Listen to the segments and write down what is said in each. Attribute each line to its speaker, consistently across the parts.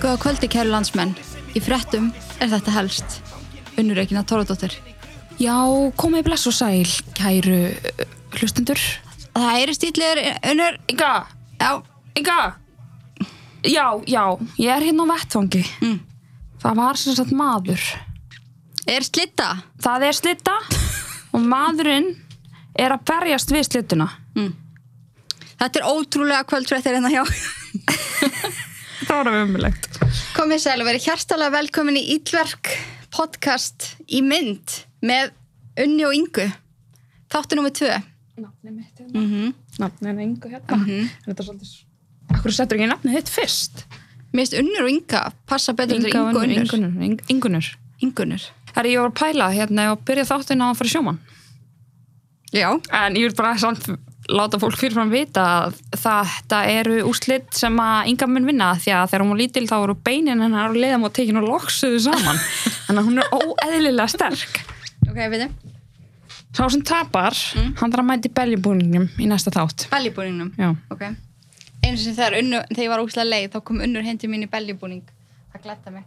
Speaker 1: Góða kvöldi kæru landsmenn. Í frettum er þetta helst. Unnur Regina Tóradóttir.
Speaker 2: Já, komið bless og sæl, kæru uh, hlustendur.
Speaker 1: Það er stílir Unnur.
Speaker 2: Inga,
Speaker 1: Já,
Speaker 2: Inga! Já, já, ég er hérna á vettvangi.
Speaker 1: Mm.
Speaker 2: Það var sem sagt maður.
Speaker 1: er slitta.
Speaker 2: Það er slitta og maðurinn er að berjast við slittuna.
Speaker 1: Þetta er ótrúlega kvöldfrettir hérna hjá.
Speaker 2: Það var umulegt.
Speaker 1: Komið sæl og verið hjartalega velkomin í Íllverk podcast í mynd með Unni og Ingu. Þáttu nummið tvö.
Speaker 2: Nafnið mitt hérna. er
Speaker 1: Mm
Speaker 2: nafnið en engu hérna. En þetta er svolítið... Akkur settur ekki nafnið þitt fyrst?
Speaker 1: Mér finnst Unnur og Inga passa betur en Ingu og Unnur.
Speaker 2: Ingunur. Ingunur.
Speaker 1: Ingunur.
Speaker 2: Það er ég var að pæla hérna og byrja þáttinn á að fara í sjómann.
Speaker 1: Já.
Speaker 2: En ég vil bara samt láta fólk fyrirfram vita að þetta eru úrslit sem að Inga mun vinna því að þegar hún var lítil þá eru beinin hennar og leiðum og tekinu og loksuðu saman þannig að hún er óeðlilega sterk
Speaker 1: Ok, við þið.
Speaker 2: Sá sem tapar, hann þarf að mæti beljubúningnum í næsta þátt
Speaker 1: Bellibúningnum.
Speaker 2: Já,
Speaker 1: Ok. Einu sem það er unnur, þegar ég var óslega leið, þá kom unnur heim til mín í belljubúning. Það glætta mig.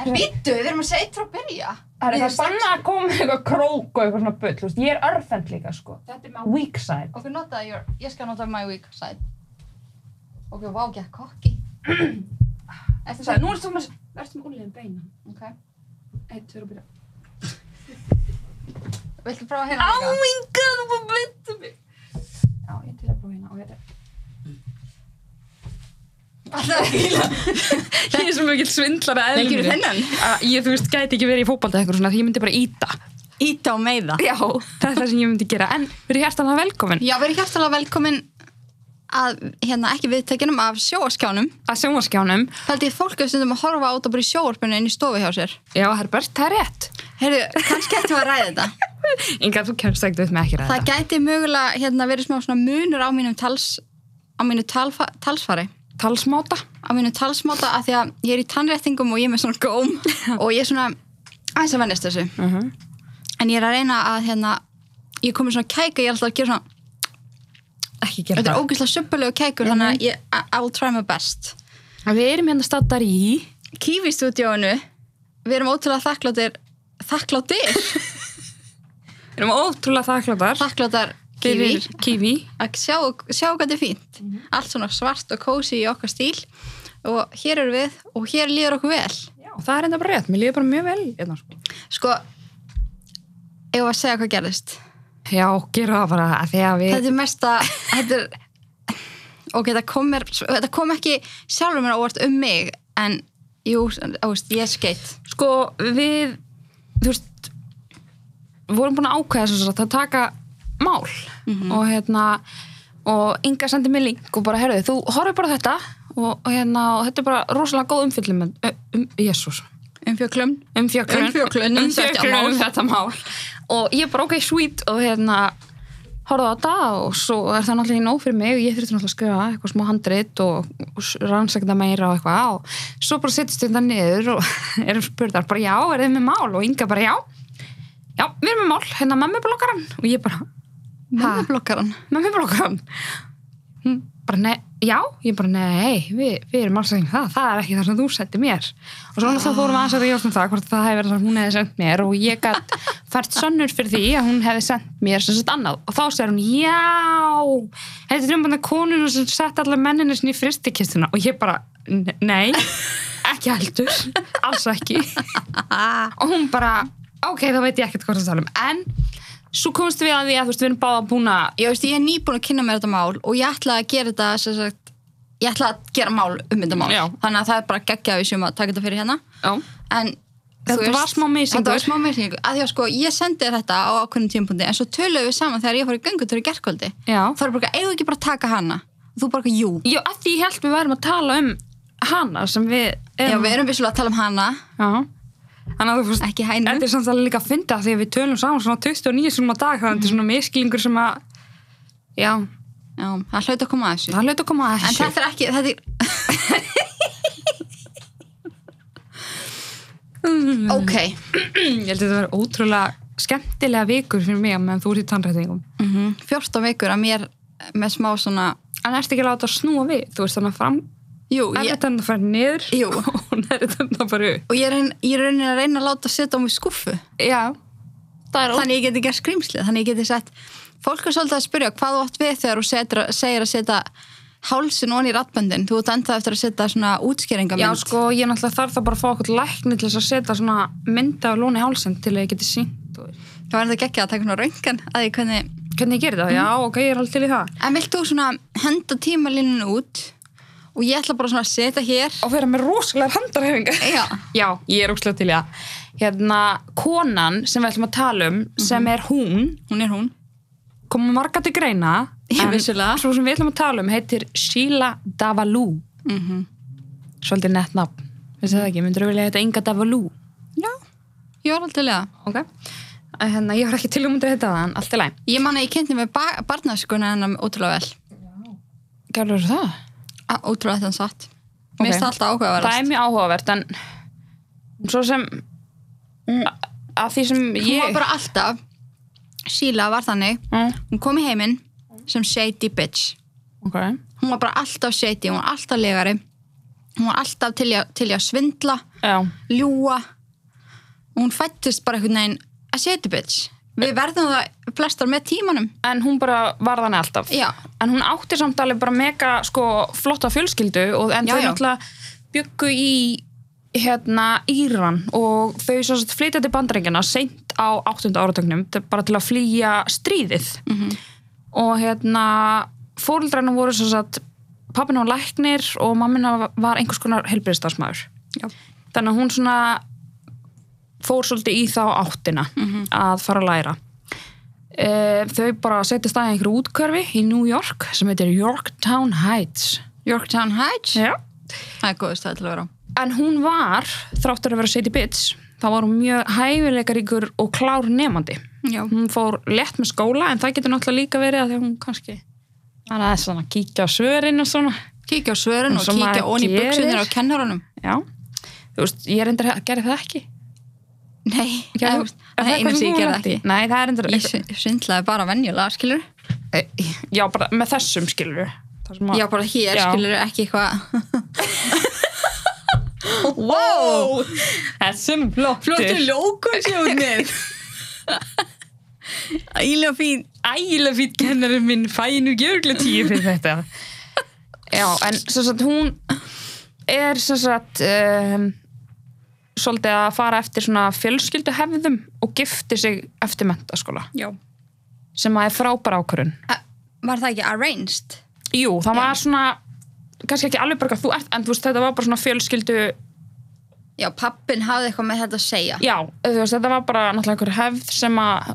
Speaker 1: En vittu, við erum að segja eitt frá að byrja. Ég er strax-
Speaker 2: að koma með eitthvað krók og eitthvað svona bull, veist, ég er örfend líka sko Þetta er með weak side
Speaker 1: Ok, notaði your, ég skal nota my weak side. Ok, vá, ekki að kokki. Eftir það,
Speaker 2: Nú ertu með, ertu með úrliðin beina
Speaker 1: ok.
Speaker 2: Eitt, tveir og byrja
Speaker 1: Viltu prófa hérna líka?
Speaker 2: Inga, þú búið að byrja mig Já, ég til að prófa hérna og þetta
Speaker 1: Alltaf ekki líka.
Speaker 2: Ég er svo mikið svindlar að
Speaker 1: Þegar
Speaker 2: eðlum
Speaker 1: gerur þennan.
Speaker 2: að ég, þú veist, gæti ekki verið í fótbalta eitthvað svona, því ég myndi bara íta.
Speaker 1: Íta og meiða.
Speaker 2: Já. Það er það sem ég myndi gera, en verið hjartanlega velkomin
Speaker 1: Já, við erum hjartalega velkomin að, hérna, ekki viðtekinum af sjóaskjánum.
Speaker 2: að sjónvarskjánum.
Speaker 1: Fældi ég fólk að stundum að horfa át og bara í sjóarpinu inn í stofu hjá sér.
Speaker 2: Já, Herbert, það er rétt.
Speaker 1: Heyrðu, kannski ættum við að ræða þetta.
Speaker 2: Inga, þú kemst ekkert upp með ekki ræða.
Speaker 1: Það gæti mögulega hérna, verið smá svona munur á mínum tals, á mínu talfa, talsfari
Speaker 2: Talsmáta.
Speaker 1: á mínu talsmáta af því að ég er í tannréttingum og ég er með svona góm og ég er svona aðeins að vennist þessu
Speaker 2: Uh -huh.
Speaker 1: en ég er að reyna að hérna ég er komin svona kæka, ég er alltaf að gera svona
Speaker 2: Ekki gera
Speaker 1: þetta er
Speaker 2: það.
Speaker 1: ógeðslega söpulegu kækur þannig að ég, I- I will try my best
Speaker 2: Við erum hérna stattar í...
Speaker 1: Kiwi stúdíóinu við erum ótrúlega þakkláttir þakkláttir?
Speaker 2: Við erum ótrúlega þakkláttar.
Speaker 1: þakkláttar Kiwi
Speaker 2: Fyrir Kiwi.
Speaker 1: að sjá, sjá hvað þetta er fínt
Speaker 2: Mhm.
Speaker 1: allt svona svart og kósi í okkar stíl og hér eru við og hér líður okkur vel
Speaker 2: Já, það er enda bara rétt. Mér líður bara mjög vel. Hérna, sko.
Speaker 1: sko ef að segja hvað gerðist
Speaker 2: Já, gera það bara að því að við...
Speaker 1: þetta er mesta þetta er, ok, þetta kom, mér, þetta kom ekki sjálfur mér ávart um mig en jú, þú veist, ég er skeitt
Speaker 2: sko við þú veist við vorum búin að ákveða sem sagt að taka mál og hérna og Inga sendi mér link og bara herðu þú horfir bara á þetta og, og hérna og þetta er bara rosalega góð umfyllum um, um, jésús
Speaker 1: um fjöklum
Speaker 2: umfjöklun
Speaker 1: Umfjöllun um þetta
Speaker 2: umfjöklun um
Speaker 1: mál.
Speaker 2: þetta mál og ég bara ok, sweet og hérna horfði á þetta og svo er það náttúrulega ekki nóg fyrir mig og ég þurfti náttúrulega að skrifa eitthvað smá handrit og, og s- rannsaka það meira og eitthvað og svo bara settist þetta niður og erum spurðar bara já, er þið með mál og Inga bara já já, við erum með mál, hérna mammi blokkar hann og ég bara, Ha?
Speaker 1: mennblokkaran
Speaker 2: mammi blokkar hann hún bara, nei, já ég bara, nei, við, við erum alls ekki það það er ekki það sem þú sendi mér og svo náttúrulega fórum aðeins að ríðast um það hvort það hefði verið það sem hún hefði sendt mér og ég gætt fært sönnur fyrir því að hún hefði sendt mér sem sett annað og þá segir hún, já þetta er um bara konuna sem sett allar menninu sinni í fristikistuna og ég bara, "N- nei ekki heldur, alls ekki og hún bara, ok, þá veit ég ekkert hvort það tala um en svo komst við að því að þú veist, við erum báða búin að
Speaker 1: ég veist, ég er nýbúin að kynna mér þetta mál og ég ætla að gera þetta sem sagt, ég ætla að gera mál um þetta mál
Speaker 2: Já.
Speaker 1: þannig að það er bara geggja við séum að taka þetta fyrir hérna
Speaker 2: já.
Speaker 1: en þú
Speaker 2: Þetta var smá mislingur.
Speaker 1: þetta var smá meisingur að því að sko ég sendi þér þetta á ákveðnum tímpundi en svo töluðum við saman þegar ég fór í göngutur í gerkvöldi
Speaker 2: Já.
Speaker 1: þá er bara eigum við ekki bara að taka hana og þú bara eitthvað, jú
Speaker 2: Já, af því ég held við værum að tala um hana sem við
Speaker 1: já
Speaker 2: erum.
Speaker 1: við erum vissulega að tala um hana
Speaker 2: Já. Þannig að þú fyrst,
Speaker 1: ekki hænu
Speaker 2: þetta er samt alveg líka að fynda því að við tölum saman svona 29 sem á dag, þannig að þetta er svona misklingur sem að, já,
Speaker 1: já það hlaut að koma að þessu
Speaker 2: það hlaut að koma að
Speaker 1: en
Speaker 2: þessu.
Speaker 1: þetta er ekki þetta er ok
Speaker 2: Mm-hmm. Ég held að þetta verið ótrúlega
Speaker 1: Mhm.
Speaker 2: skemmtilega vikur fyrir mig að meðan þú ert í tannrættingum.
Speaker 1: mm 14 vikur að mér með smá svona
Speaker 2: en ertu ekki að láta snúa við þú veist þannig að fram
Speaker 1: Jú,
Speaker 2: er
Speaker 1: ég,
Speaker 2: þetta að fara niður
Speaker 1: Jú.
Speaker 2: og er þetta að fara upp
Speaker 1: og ég er, ein, ég er raunin að reyna að láta setja á mig skuffu
Speaker 2: já, það er
Speaker 1: þannig ég geti gert skrýmslið, þannig ég geti sett fólk er svolítið að spyrja hvað þú átt við þegar þú setra, segir að setja hálsin onni í rattböndin, þú ert enda eftir að setja svona útskýringamynd
Speaker 2: Já, sko, ég náttúrulega þarf það bara að fá okkur lækni til þess að setja svona mynda af lóni hálsinn til að ég geti sínt. og-
Speaker 1: það var enda ekki að taka svona röngan að ég hvernig,
Speaker 2: Hvernig ég gerir það? Já, ok, ég er alveg til í það.
Speaker 1: en vilt þú svona henda tímalínun út og ég ætla bara svona að setja hér
Speaker 2: Og vera með rosalega handarhefingar.
Speaker 1: já,
Speaker 2: Já, ég er óslega til í það. Hérna, konan sem við ætlum að tala um, sem er hún,
Speaker 1: hún er hún
Speaker 2: komum marga til greina.
Speaker 1: Ég
Speaker 2: en
Speaker 1: vissulega.
Speaker 2: Svo sem við ætlum að tala um heitir Sheila Davalou.
Speaker 1: mm -hmm.
Speaker 2: Svolítið nett nafn. Vissi það ekki, myndur þú vilja heita Inga Davalou?
Speaker 1: já, ég var alltaf lega
Speaker 2: Ok. En Hérna, ég var ekki til um að heita það, en allt í læn.
Speaker 1: ég man að ég kynnti með ba barnaskuna hennar ótrúlega vel,
Speaker 2: Gjörður það?
Speaker 1: Á- ótrúlega þann satt
Speaker 2: Ok.
Speaker 1: mér finnst það alltaf áhugaverðast
Speaker 2: það er mjög áhugavert en svo sem a- að því sem
Speaker 1: hún var
Speaker 2: ég
Speaker 1: bara alltaf Sheila var þannig,
Speaker 2: Mm,
Speaker 1: hún kom í heiminn sem shady bitch
Speaker 2: ok,
Speaker 1: hún var bara alltaf shady, hún var alltaf legari hún var alltaf til í að, til í að svindla
Speaker 2: já,
Speaker 1: ljúa og hún fættist bara einhvern veginn a shady bitch við verðum það flestar með tímanum
Speaker 2: en hún bara var þannig alltaf
Speaker 1: Já.
Speaker 2: en hún átti samt alveg bara mega sko, flotta fjölskyldu og, en
Speaker 1: Já,
Speaker 2: þau
Speaker 1: já.
Speaker 2: náttúrulega byggu í hérna Íran og þau svo að flytja til bandaringina seint á 8. áratögnum bara til að flýja stríðið
Speaker 1: Mhm.
Speaker 2: -hmm. og hérna fóreldrarna voru svo að pappina var læknir og mammina var einhvers konar helbriðstafsmæður
Speaker 1: Já.
Speaker 2: þannig að hún svona fór svolítið í þá áttina
Speaker 1: Mhm.
Speaker 2: að fara að læra e, þau bara setjast að einhverju útkörfi í New York sem heitir Yorktown Heights
Speaker 1: Yorktown Heights
Speaker 2: Já.
Speaker 1: það er góðist það til að vera á
Speaker 2: en hún var, þráttur að vera setið bits þá var hún mjög hæfileikaríkur og klár nefandi
Speaker 1: já,
Speaker 2: hún fór lett með skóla en það getur náttúrulega líka verið að því að hún kannski hann aðeins svona kíkja á svörin og svona
Speaker 1: kíkja á svörin
Speaker 2: En
Speaker 1: og
Speaker 2: svo
Speaker 1: kíkja
Speaker 2: maður
Speaker 1: onni í
Speaker 2: gerir.
Speaker 1: buksunir á kennarunum
Speaker 2: já, þú veist, ég reyndar að gera það ekki
Speaker 1: nei,
Speaker 2: Gerðu-
Speaker 1: nei,
Speaker 2: Er það
Speaker 1: einu
Speaker 2: eitthvað sem
Speaker 1: sem ég
Speaker 2: hún
Speaker 1: gerði
Speaker 2: lenti í?
Speaker 1: ekki
Speaker 2: nei, það er reyndar
Speaker 1: ég sv- svindlaði bara venjulega, skilur
Speaker 2: E, já, bara með þessum skilur
Speaker 1: já, bara hér,
Speaker 2: Já.
Speaker 1: skilur, ekki eitthvað
Speaker 2: wow þessum flottur
Speaker 1: lókur sjónir Ílega fín
Speaker 2: ægilega fýtt kennarinn minn fæinu gjörgla tíu fyrir þetta já, en svo sagt hún er svo sagt um, svolítið að fara eftir svona fjölskyldu hefðum og gifti sig eftir mentaskóla
Speaker 1: Já
Speaker 2: sem að er frábæra ákvörun
Speaker 1: Var það ekki arranged?
Speaker 2: jú, það var svona kannski ekki alveg bara hvað þú ert en þú veist þetta var bara svona fjölskyldu
Speaker 1: Já, pappin hafði eitthvað með þetta að segja
Speaker 2: já, þú veist þetta var bara náttúrulega einhver hefð sem að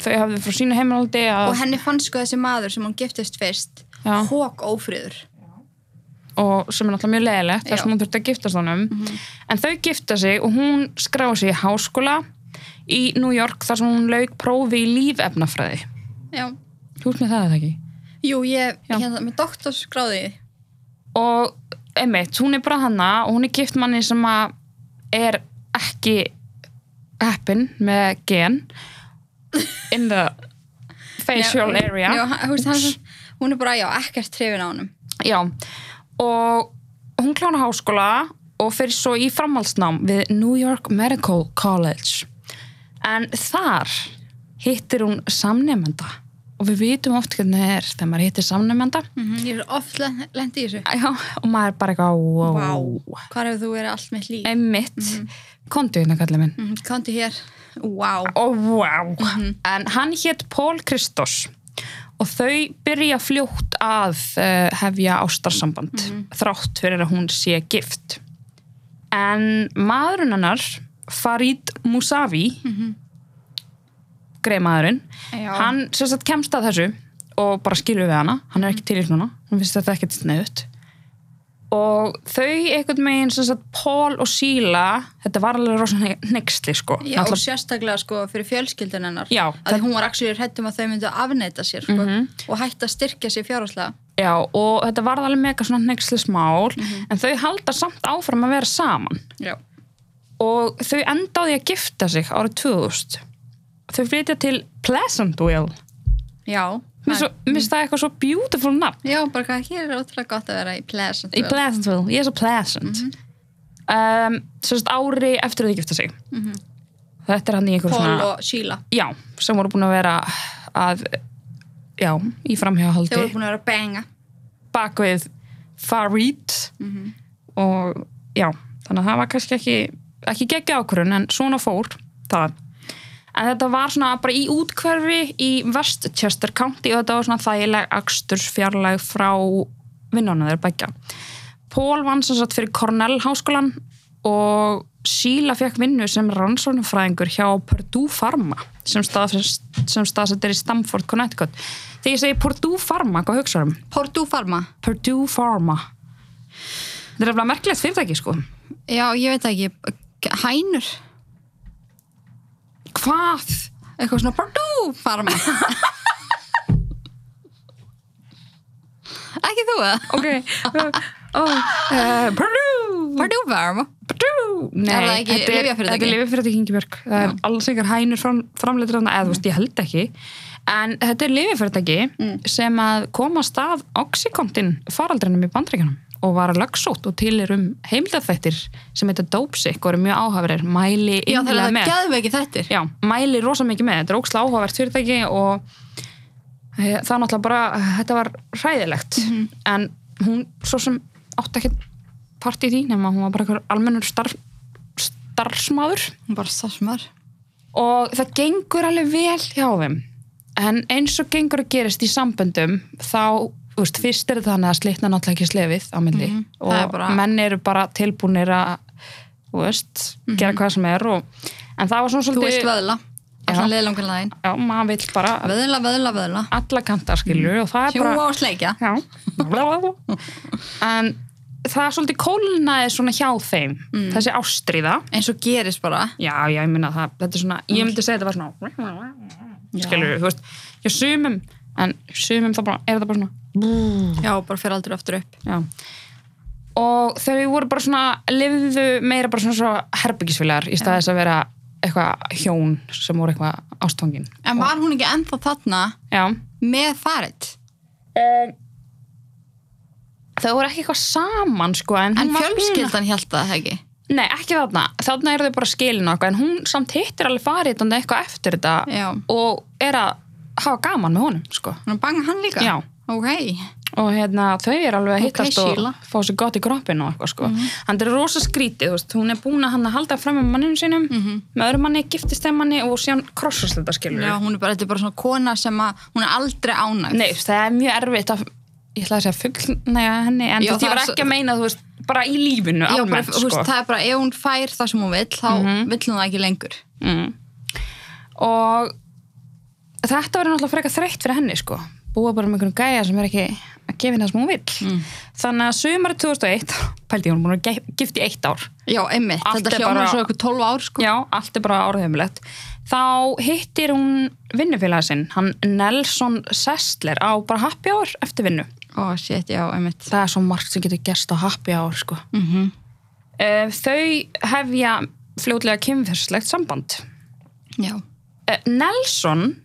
Speaker 2: þau hafði frá sínu heimaldi að
Speaker 1: Og henni fannst sko þessi maður sem hún giftist fyrst
Speaker 2: Já.
Speaker 1: Hók ófriður
Speaker 2: og sem er náttúrulega mjög leðilegt þar sem
Speaker 1: Já.
Speaker 2: hún þurfti að giftast honum en þau gifta sig og hún skráði sig í háskóla í New York þar sem hún lauk prófi í lífefnafræði
Speaker 1: Já
Speaker 2: þú ert með það eða ekki?
Speaker 1: Jú, ég,
Speaker 2: Já.
Speaker 1: hérna, með doktorsgráði
Speaker 2: og einmitt, hún er bara hanna og hún er gift manni sem að er ekki heppin með gen in the facial
Speaker 1: Já,
Speaker 2: area
Speaker 1: Já, hann- þú veist, hann, hún er bara, já, ekkert trefin á honum
Speaker 2: Já, og hún klána háskóla og fyrir svo í framhaldsnám við New York Medical College. En þar hittir hún samnefnda og við vitum oft hvernig það er þegar maður hittir samnefnda
Speaker 1: Ég er oft lendi í þessu
Speaker 2: Já, og maður er bara eitthvað, wow,
Speaker 1: Hvar hefur þú verið allt mitt líf?
Speaker 2: einmitt, kontu hérna kallið minn.
Speaker 1: Mhm, Komdu hér Vá
Speaker 2: og wow. en hann hétt Pól Kristós og þau byrja fljótt að uh, hefja ástarsamband
Speaker 1: Mhm.
Speaker 2: þrátt fyrir að hún sé gift en maðurinn hennar Farid Musavi mm -hmm. greimaðurinn
Speaker 1: Mhm. Já.
Speaker 2: hann sem sagt kemst að þessu og bara skilur við hana, hann er ekki til í svona hann finnst þetta ekkert sniðut og þau einhvern veginn sem sagt Pól og Síla þetta var alveg rosa nexli sko
Speaker 1: Já,
Speaker 2: Náttúrulega
Speaker 1: og sérstaklega sko fyrir fjölskyldun hennar
Speaker 2: Já, Mhm.
Speaker 1: að það... hún var actually hrættum að þau myndu afneita sér sko, og hætta að styrkja sér fjárháslega
Speaker 2: Já, og þetta varð alveg mega svona hneikslismál, en þau halda samt áfram að vera saman
Speaker 1: Já,
Speaker 2: og þau enda á því að gifta sig árið 2000. Þau flytja til Pleasantville
Speaker 1: já
Speaker 2: Mér svo- mér finnst það eitthvað svo beautiful nafn
Speaker 1: Já, bara hvað hér er ótrúlega gott að vera í pleasant.
Speaker 2: í Pleasantville, ég er svo pleasant mm -hmm. um, sérst ári eftir að þið gifta sig þetta er hann í einhverjum
Speaker 1: Paul
Speaker 2: svona
Speaker 1: og Sheila.
Speaker 2: já, sem voru búin að vera að já, í
Speaker 1: Þau
Speaker 2: framhjáhaldi
Speaker 1: voru búin að vera að benga.
Speaker 2: bak við Farid og já, þannig að það var kannski ekki ekki geggja ákvörun, en svona fór það en þetta var svona bara í útkverfi í Westchester County og þetta var svona þægileg akstursfjarlæg frá vinnunum þeirra begja Pól vann sem sagt fyrir Cornell háskólan og Sheila fekk vinnu sem rannsóknarfræðingur hjá Purdue Pharma sem, stað, sem staðsett er í Stamford, Connecticut þegar ég segi Purdue Pharma, hvað um? hugsaðum?
Speaker 1: Purdue Pharma.
Speaker 2: Purdue Pharma Þetta er alveg merkilegt fyrirtæki sko
Speaker 1: Já, ég veit það ekki. Hænur.
Speaker 2: Hvað?
Speaker 1: Eitthvað svona Purdue Pharma. ekki þú það?
Speaker 2: Ok oh, uh, Purdue
Speaker 1: Purdue Pharma.
Speaker 2: Purdue Nei,
Speaker 1: Er það ekki
Speaker 2: þetta er-
Speaker 1: lyfjafyrirtæki?
Speaker 2: Þetta er lifjafyrirtæki Ingibjörg Það er alls einhver hænur fram, framleitur þarna, eða þú veist, ég held ekki En þetta er lifjafyrirtæki
Speaker 1: Mm.
Speaker 2: sem að koma að stað Oxycontin faraldrinum í bandrækjunum og var að lagsótt og til er um heimildarþættir sem heita Dopesick og eru mjög áhafirir mæli
Speaker 1: Já, það er
Speaker 2: innilega
Speaker 1: það
Speaker 2: með
Speaker 1: geðveiki þettir.
Speaker 2: já, mæli rosa mikið með þetta er óksla áhugavert fyrirtæki og e, það er náttúrulega bara þetta var hræðilegt
Speaker 1: Mhm.
Speaker 2: en hún svo sem átti ekki part í því nema hún var bara einhver almennur starf, starfsmáður
Speaker 1: Hún bara sarsmar.
Speaker 2: og það gengur alveg vel hjá þeim en eins og gengur að gerist í samböndum þá þú veist, fyrst er það þannig að slitna náttúrulega ekki slefið á myndi
Speaker 1: Mhm,
Speaker 2: og
Speaker 1: það er bara-
Speaker 2: menn eru bara tilbúnir að þú veist, gera hvað sem er og, en það var svona
Speaker 1: Mhm. Þú
Speaker 2: svolítið
Speaker 1: veist vöðla. Allan leiðlangur laginn.
Speaker 2: já, maður vill bara
Speaker 1: Vöðla, vöðla, vöðla.
Speaker 2: alla kantar skilur og það er bara
Speaker 1: Hjúa og sleikja.
Speaker 2: já, en það er svolítið kólnaði svona hjá þeim þessi ástriða
Speaker 1: Eins og gerist bara.
Speaker 2: já, já, ég minna það, þetta er svona ég myndi segja þetta var svona skilur, þú veist, já, sumum en sumum þá bara, er þetta bara svona Mm.
Speaker 1: Já, bara fyrir aldrei aftur upp.
Speaker 2: já og þau voru bara svona, lifðu meira bara svona svo herbyggisvilegar í staðis að vera eitthvað hjón sem voru eitthvað ástfangin
Speaker 1: En var hún ekki ennþá þarna
Speaker 2: já,
Speaker 1: með farið?
Speaker 2: þau voru ekki eitthvað saman sko, en,
Speaker 1: En
Speaker 2: hún var-
Speaker 1: fjölskyldan held það ekki?
Speaker 2: Nei, ekki þarna. Þarna eru þau bara skilin okkur, en hún samt hittir alveg farið þannig eitthvað eftir þetta
Speaker 1: Já.
Speaker 2: og er að hafa gaman með honum, sko.
Speaker 1: Hún er banga hann líka?
Speaker 2: Já.
Speaker 1: Ok.
Speaker 2: Og hérna, þau eru alveg að
Speaker 1: Ok,
Speaker 2: hittast
Speaker 1: Sheila.
Speaker 2: og fá sér gott í kroppinu og eitthvað, sko. Mm
Speaker 1: Mhm.
Speaker 2: Hann er rosa skrítið, þú veist, hún er búin að hann að halda fram með manninu sínum, með öðrum manni, giftist þeim manni og síðan krossast þetta, skilur.
Speaker 1: Mhm. Já, hún er bara, þetta er bara svona kona sem að hún er aldrei ánægt.
Speaker 2: Nei, þú veist, það er mjög erfitt að, ég ætla að segja fullnæja henni, en
Speaker 1: Já,
Speaker 2: þú veist, ég
Speaker 1: það
Speaker 2: var
Speaker 1: er svo-
Speaker 2: ekki að meina, þú veist, bara í lífinu,
Speaker 1: Já, bara,
Speaker 2: almennt,
Speaker 1: þú veist,
Speaker 2: sko. Mhm.
Speaker 1: það er bara, ef hún fær það sem hún vill, þá vill hún það ekki lengur.
Speaker 2: mm. og þetta verður náttúrulega frekar þreytt fyrir henni sko búa bara með einhvern gæja sem er ekki að gefa henni það sem hún vill
Speaker 1: Mm.
Speaker 2: þannig að sumar 2001 pældi ég hún er búin að ge- gift í eitt ár
Speaker 1: Já, einmitt.
Speaker 2: Allt er
Speaker 1: þetta hljómar
Speaker 2: bara-
Speaker 1: bara... svo eitthvað 12 ár, sko.
Speaker 2: já, allt er bara áraðumilegt þá hittir hún vinnufélaga sinn hann Nelson Sessler á bara happy hour eftir vinnu
Speaker 1: Ó, shit, já, einmitt.
Speaker 2: það er svo margt sem getur gerst á happy hour sko
Speaker 1: Mm
Speaker 2: Eh, þau hefja fljótlega kynferðslegt samband
Speaker 1: Já.
Speaker 2: Eh, Nelson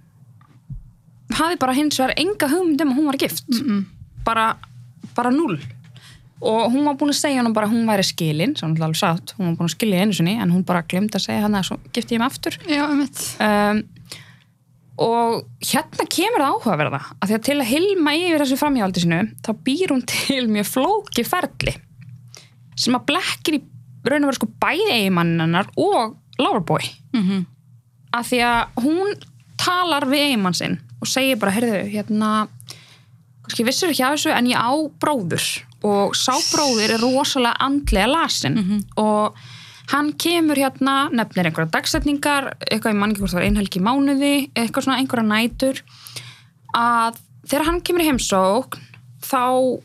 Speaker 2: hafi bara hins vegar enga hugmynd um að hún var gift bara, bara null og hún var búin að segja hann bara að hún væri skilin sem hún er alveg satt, hún var búin að skilja einu sinni en hún bara glemt að segja hann að svo gifti ég mig aftur
Speaker 1: Já, einmitt.
Speaker 2: um, og hérna kemur það áhugaverða að því að til að hilma yfir þessu framhjáldi sinu þá býr hún til mjög flóki ferli sem að blekkir í raun og veru sko bæði eigimanninnar og Loverboy
Speaker 1: Mm -hmm.
Speaker 2: að því að hún talar við eiginmann sinn og segir bara, heyrðu, hérna kannski vissir ekki af þessu en ég á bróður og sá bróður er rosalega andlega lasin og hann kemur hérna, nefnir einhverja dagsetningar, eitthvað í manningi hvort það var einhelgi mánuði, eitthvað svona einhverja nætur að þegar hann kemur í heimsókn þá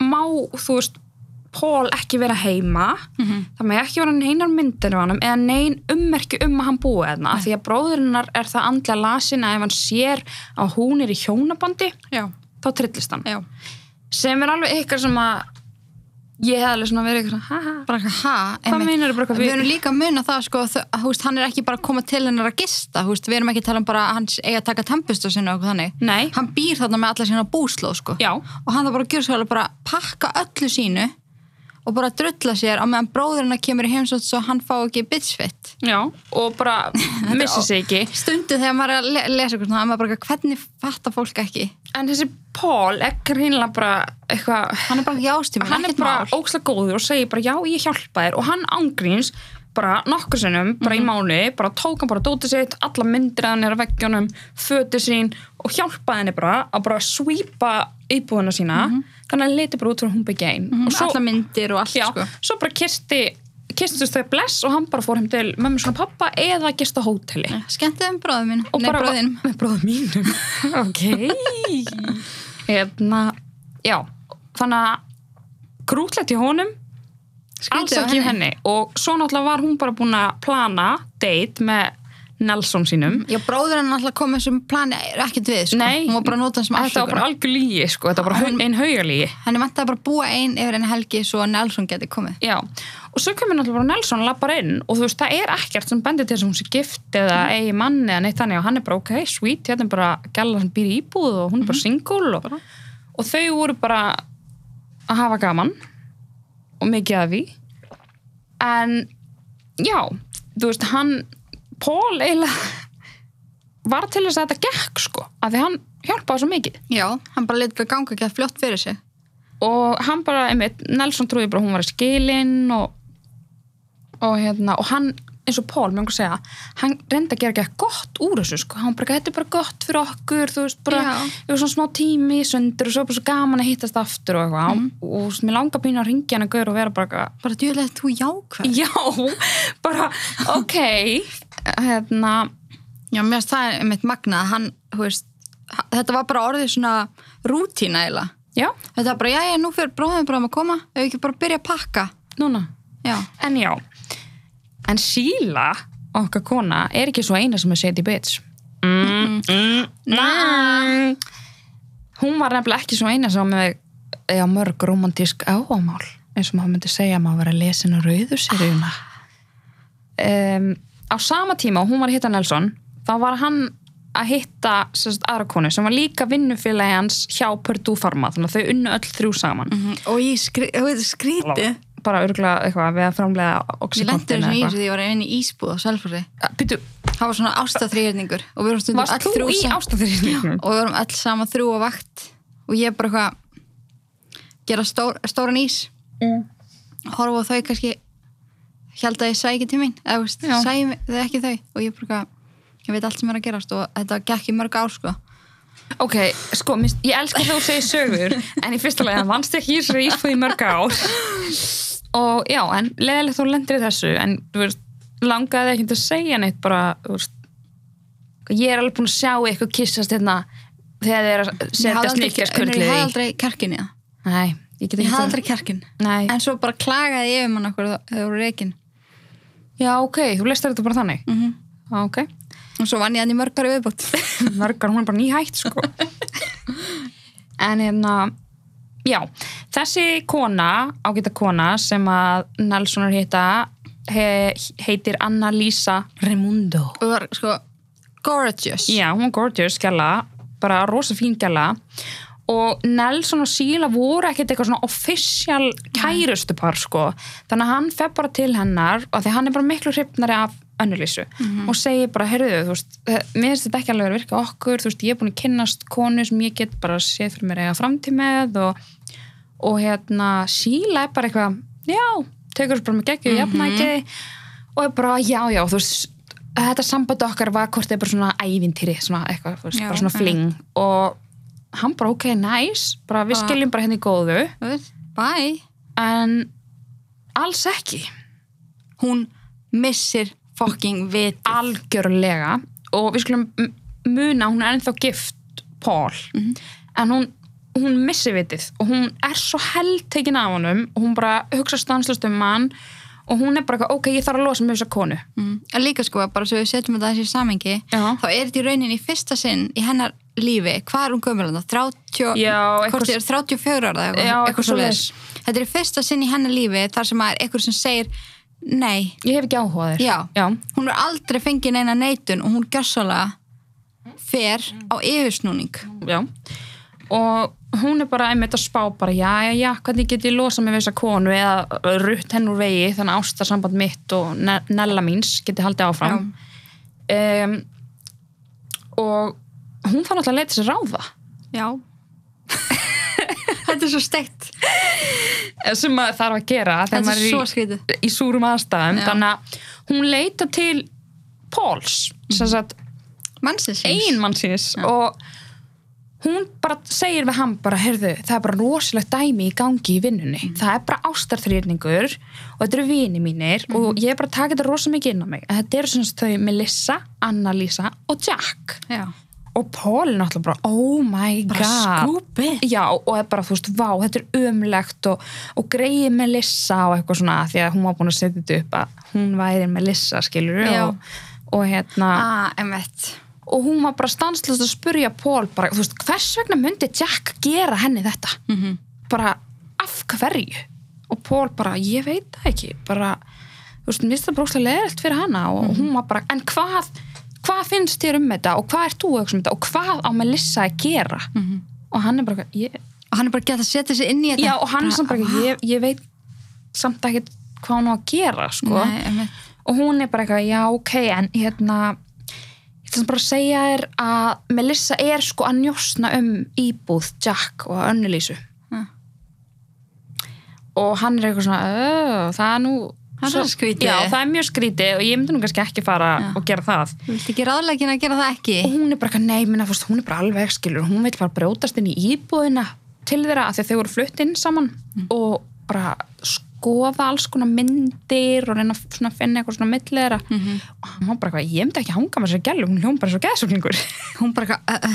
Speaker 2: má, þú veist Pól ekki vera heima
Speaker 1: mhm.
Speaker 2: það með ekki vera neinar myndir af hann eða nein ummerki um að hann búi þarna af því að bróðurinnar er það andlega lasin að ef hann sér að hún er í hjónabandi
Speaker 1: Já,
Speaker 2: þá trillist hann
Speaker 1: já.
Speaker 2: sem er alveg eitthvað sem að ég hef alveg svona verið eitthvað svona, ha, ha,
Speaker 1: bara eitthvað, ha,
Speaker 2: hvað
Speaker 1: einmitt.
Speaker 2: meinar bara eitthvað
Speaker 1: Við
Speaker 2: við
Speaker 1: erum líka að muna það, sko, þau- að, húst, hann er ekki bara að koma til hennar að gista, húst, við erum ekki að tala um bara að hann eigi að taka tempustu sinni og eitthvað þannig.
Speaker 2: nei,
Speaker 1: Hann býr þarna með alla sína búslóð, sko.
Speaker 2: já,
Speaker 1: Og hann þarf bara að gjöra svo bara að pakka öllu sínu og bara drulla sér á meðan bróðurinn kemur í heimsótt svo hann fá ekki bitchfit.
Speaker 2: já og bara missa sig ekki
Speaker 1: Stundu þegar maður er að le lesa eitthvað svona, að maður bara eitthvað, hvernig fattar fólk ekki?
Speaker 2: en þessi Paul er greinlega bara eitthvað
Speaker 1: Hann er bara ekki ástíma,
Speaker 2: hann er bara ókslega góður og segir bara já ég hjálpa þér og hann ángríns bara nokkur sinnum, bara
Speaker 1: Mhm.
Speaker 2: í mánu bara tók hann bara dótið sitt, alla myndir að hann er að veggjónum, fötið sín og hjálpaði henni bara að bara svípa íbúðuna sína þannig að hann leti bara út fyrir að hún byggja einn og svo,
Speaker 1: Alla Mhm. myndir og allt,
Speaker 2: já,
Speaker 1: sko.
Speaker 2: svo bara kirsti kirstist þau bless og hann bara fór heim til mömmu svona pappa eða gista á hóteli
Speaker 1: Skemmtið um bróðum mín,
Speaker 2: og
Speaker 1: nei
Speaker 2: bara
Speaker 1: bróðinum.
Speaker 2: með bróðum mínum ok hérna, já þannig að grútlegt í honum alls
Speaker 1: á
Speaker 2: ekki henni. henni og svo náttúrulega var hún bara búin að plana date með Nelson sínum
Speaker 1: Já, bróðurinn náttúrulega kom þessum plani ekkert við, sko.
Speaker 2: Nei.
Speaker 1: Hún var bara að nota hann sem
Speaker 2: þetta var
Speaker 1: afsökun.
Speaker 2: bara algjör lígi sko, þetta var bara hau- ein haugalígi
Speaker 1: Henni vantaði bara að búa einn yfir einn helgi svo að Nelson geti komið.
Speaker 2: já, og svo kemur náttúrulega bara Nelson lappar inn og þú veist, það er ekkert sem bendir til þess að hún sé gift eða eigi mann eða neitt þannig og hann er bara ok, sweet, hérna er bara gæla sem býr í íbúð og hún er bara single og, og þau voru bara að hafa gaman og mikið að því en já, þú veist, hann Paul eiginlega var til þess að þetta gekk sko, af því hann hjálpaði svo mikið
Speaker 1: Já, hann bara leitur að ganga ekki að fljótt fyrir sig.
Speaker 2: og hann bara, einmitt, Nelson trúi bara að hún var í skilin og, og hérna, og hann eins og Pól, mér einhver segja, hann reyndi að gera ekki gott úr þessu, sko, hann bara, þetta er bara gott fyrir okkur, þú veist, bara
Speaker 1: Já.
Speaker 2: við varum svona smá tími í sundur og svo bara svo gaman að hittast aftur og eitthvað, og, og svo mér langar pínu að ringja hann að gaur og vera bara eitthvað,
Speaker 1: Bara djúlega þú jákvæð.
Speaker 2: já, bara, ok hérna,
Speaker 1: Já, mér finnst það er mitt magnað. Hann, þú veist, h- þetta var bara orðið svona rútína eiginlega.
Speaker 2: já,
Speaker 1: Þetta var bara, já, já, nú fyrir bróðum bróðum að koma. Ef við ekki bara byrja að pakka.
Speaker 2: núna
Speaker 1: Já.
Speaker 2: en já, en síla okkar kona er ekki svo eina sem er shady bitch mm, mm, mm. hún var nefnilega ekki svo eina sem er eða mörg romantísk áamál eins og maður myndi segja að maður var að lesa hennar rauður seríuna um, á sama tíma og hún var að hitta Nelson þá var hann að hitta sem sagt, aðra konu sem var líka vinnufélagi hans hjá Purdue Pharma þannig að þau unnu öll þrjú saman
Speaker 1: Mhm, Og ég skri, þú veist, skríti.
Speaker 2: bara örgulega eitthvað við að framlega
Speaker 1: Ég lendi
Speaker 2: oxykontin
Speaker 1: þessu í þessu því ég var inn í Ísbúð á Selfurri.
Speaker 2: Býtu,
Speaker 1: Það var svona ástaþrýhjörningur og við vorum stundum
Speaker 2: Varst
Speaker 1: öll
Speaker 2: þú
Speaker 1: þrjú
Speaker 2: í
Speaker 1: saman.
Speaker 2: ástæðurinn?
Speaker 1: og við vorum öll sama þrjú á vakt og ég bara eitthvað gera stór, stóran ís
Speaker 2: Mm.
Speaker 1: horfa á þau kannski held að ég sæ ekki til mín eða þú veist,
Speaker 2: Já.
Speaker 1: sæ mig- þau ekki þau og ég bara eitthvað ég veit allt sem er að gerast og þetta gekk í mörg ár sko
Speaker 2: Ok, sko, minnst, ég elska þegar þú segir sögur en í fyrsta lega vannst ekki í þessari ísfúð í mörg ár og já, en leðilegt þú lendir í þessu en þú veist, langaði ekki að segja neitt bara, þú veist ég er alveg búin að sjá ykkur kissast hérna þegar þið er að
Speaker 1: Ég hafði
Speaker 2: setja
Speaker 1: aldrei- Unnur,
Speaker 2: snikkjarskullið
Speaker 1: ég
Speaker 2: í
Speaker 1: hafði aldrei kerkin í það
Speaker 2: Nei, ég get
Speaker 1: ég
Speaker 2: ekki
Speaker 1: hafði
Speaker 2: það
Speaker 1: aldrei kerkin
Speaker 2: Nei,
Speaker 1: en svo bara klagaði ég um hann okkur þegar þau voru reikin
Speaker 2: já, ok, þú lestar þetta bara þannig mm
Speaker 1: Mhm.
Speaker 2: Ok,
Speaker 1: og svo vann ég hann í mörg ári viðbútt
Speaker 2: mörgar, hún er bara nýhætt sko en hérna já, þessi kona ágæta kona sem að Nelson er hitta he, heitir Anna-Lisa Raimundo
Speaker 1: og var sko gorgeous
Speaker 2: já, hún er gorgeous gæla bara rosa fín gæla og Nelson og Síla voru ekkert eitthvað svona official kærustu par sko, þannig að hann fer bara til hennar og því hann er bara miklu hrifnari af önnulísu og segir bara, heyrðu, þú veist eh, mér finnst þetta ekki alveg að virka okkur þú veist, ég er búin að kynnast konu sem ég get bara séð fyrir mér eiga framtíð með og, og hérna, Síla er bara eitthvað, já, tekur þessu bara með geggju mm jafnæki og er bara, já, já, þú veist þetta samband okkar var hvort eð bara svona ævintýri, svona eitthvað, þú veist,
Speaker 1: Já,
Speaker 2: bara svona
Speaker 1: já.
Speaker 2: fling og hann bara, ok, nice bara við
Speaker 1: Bara-
Speaker 2: skiljum bara henni í góðu
Speaker 1: Þú veist, bye
Speaker 2: en alls ekki
Speaker 1: hún missir fucking vit
Speaker 2: algjörlega og við skulum m- muna að hún er ennþá gift Paul
Speaker 1: Mhm.
Speaker 2: en hún, hún missi vitið og hún er svo heldtekin af honum og hún bara hugsa stanslust um hann og hún er bara, eitthvað, ok, ég þarf að losa með þessa konu
Speaker 1: Mm. En líka sko, bara svo við setjum þetta þessi samengi,
Speaker 2: Já.
Speaker 1: þá er þetta í rauninni í fyrsta sinn í hennar lífi, hvað er hún gömulanda? 30,
Speaker 2: Já, eitthvað-
Speaker 1: hvort þið er 34 ára eða
Speaker 2: Já, eitthvað
Speaker 1: svoleiðis.
Speaker 2: svoleiðis.
Speaker 1: Þetta þetta er í fyrsta sinn í hennar lífi þar sem að er einhver sem segir nei,
Speaker 2: Ég hef ekki áhugað þér.
Speaker 1: já,
Speaker 2: Já.
Speaker 1: hún er aldrei fengið neina neitun og hún gjössalega fer á yfirsnúning
Speaker 2: Já. Og hún er bara einmitt að spá bara, já, já, já, hvernig get ég losa mig við þessa konu eða rutt henn úr vegi þannig að ástarsamband mitt og ne nella míns geti haldið áfram. Um, og hún fann alltaf að leita sér ráða
Speaker 1: já þetta er svo steikt
Speaker 2: eh, sem maður þarf að gera þegar
Speaker 1: þetta er
Speaker 2: maður
Speaker 1: svo
Speaker 2: er í,
Speaker 1: skrítið
Speaker 2: í súrum aðstæðum.
Speaker 1: Já.
Speaker 2: Þannig að hún leita til Páls,
Speaker 1: Mhm.
Speaker 2: sem sagt
Speaker 1: mannsins
Speaker 2: eiginmann síns og hún bara segir við hann bara, heyrðu, það er bara rosalegt dæmi í gangi í vinnunni,
Speaker 1: Mm.
Speaker 2: það er bara ástarþrýrningur og þetta eru vini mínir og
Speaker 1: Mhm.
Speaker 2: ég er bara að taka þetta rosa mikið inn á mig þetta eru sem sagt þau Melissa, Annalisa og Jack
Speaker 1: já.
Speaker 2: og Paul er náttúrulega bara, oh my
Speaker 1: bara
Speaker 2: god
Speaker 1: skúpið
Speaker 2: Já, og er bara, þú veist, vá, þetta er ömlegt og, og greið Melissa og eitthvað svona, því að hún var búin að setja þetta upp að hún væri Melissa, skilur
Speaker 1: Já.
Speaker 2: og, og hérna
Speaker 1: ah, emmitt
Speaker 2: og hún var bara stanslust að spurja Pól bara, þú veist, hvers vegna myndi Jack gera henni þetta?
Speaker 1: Mhm.
Speaker 2: Bara af hverju? Og Pól bara, ég veit það ekki, bara þú veist, minnst það brókslega leðilt fyrir hana og hún var bara, en hvað hvað finnst þér um þetta og hvað ert þú að hugsa um þetta og hvað á Melissa að gera?
Speaker 1: Mhm.
Speaker 2: Og hann er bara, ég,
Speaker 1: og hann er bara gett að setja sig inn í þetta
Speaker 2: já, og hann sem bara, ég, ég veit samt ekki hvað hann á að gera, sko
Speaker 1: Nei, einmitt.
Speaker 2: og hún er bara eitthvað, já ok, en hérna ég ætla bara að segja þér að Melissa er sko að njósna um íbúð Jack og önnulísu
Speaker 1: Ah.
Speaker 2: og hann er eitthvað svona "Ö, það er nú
Speaker 1: Það er
Speaker 2: svo-
Speaker 1: svo skrítið.
Speaker 2: já, það er mjög skrítið og ég myndi nú kannski ekki fara
Speaker 1: Já.
Speaker 2: og gera það
Speaker 1: Þú vilt ekki ráðlegin að gera það ekki
Speaker 2: og hún er bara eitthvað, nei, minna, fórst, hún er bara alveg skilur, hún vil bara brjótast inn í íbúðina til þeirra af því að þau voru flutt inn saman
Speaker 1: Mhm.
Speaker 2: og bara skoða alls konar myndir og reyna svona að finna eitthvað svona milli þeirra
Speaker 1: Mhm.
Speaker 2: og hann var bara eitthvað, ég myndi ekki hanga með þessari gælu hún hljón bara svo geðsuglingur
Speaker 1: hún bara eitthvað, uh,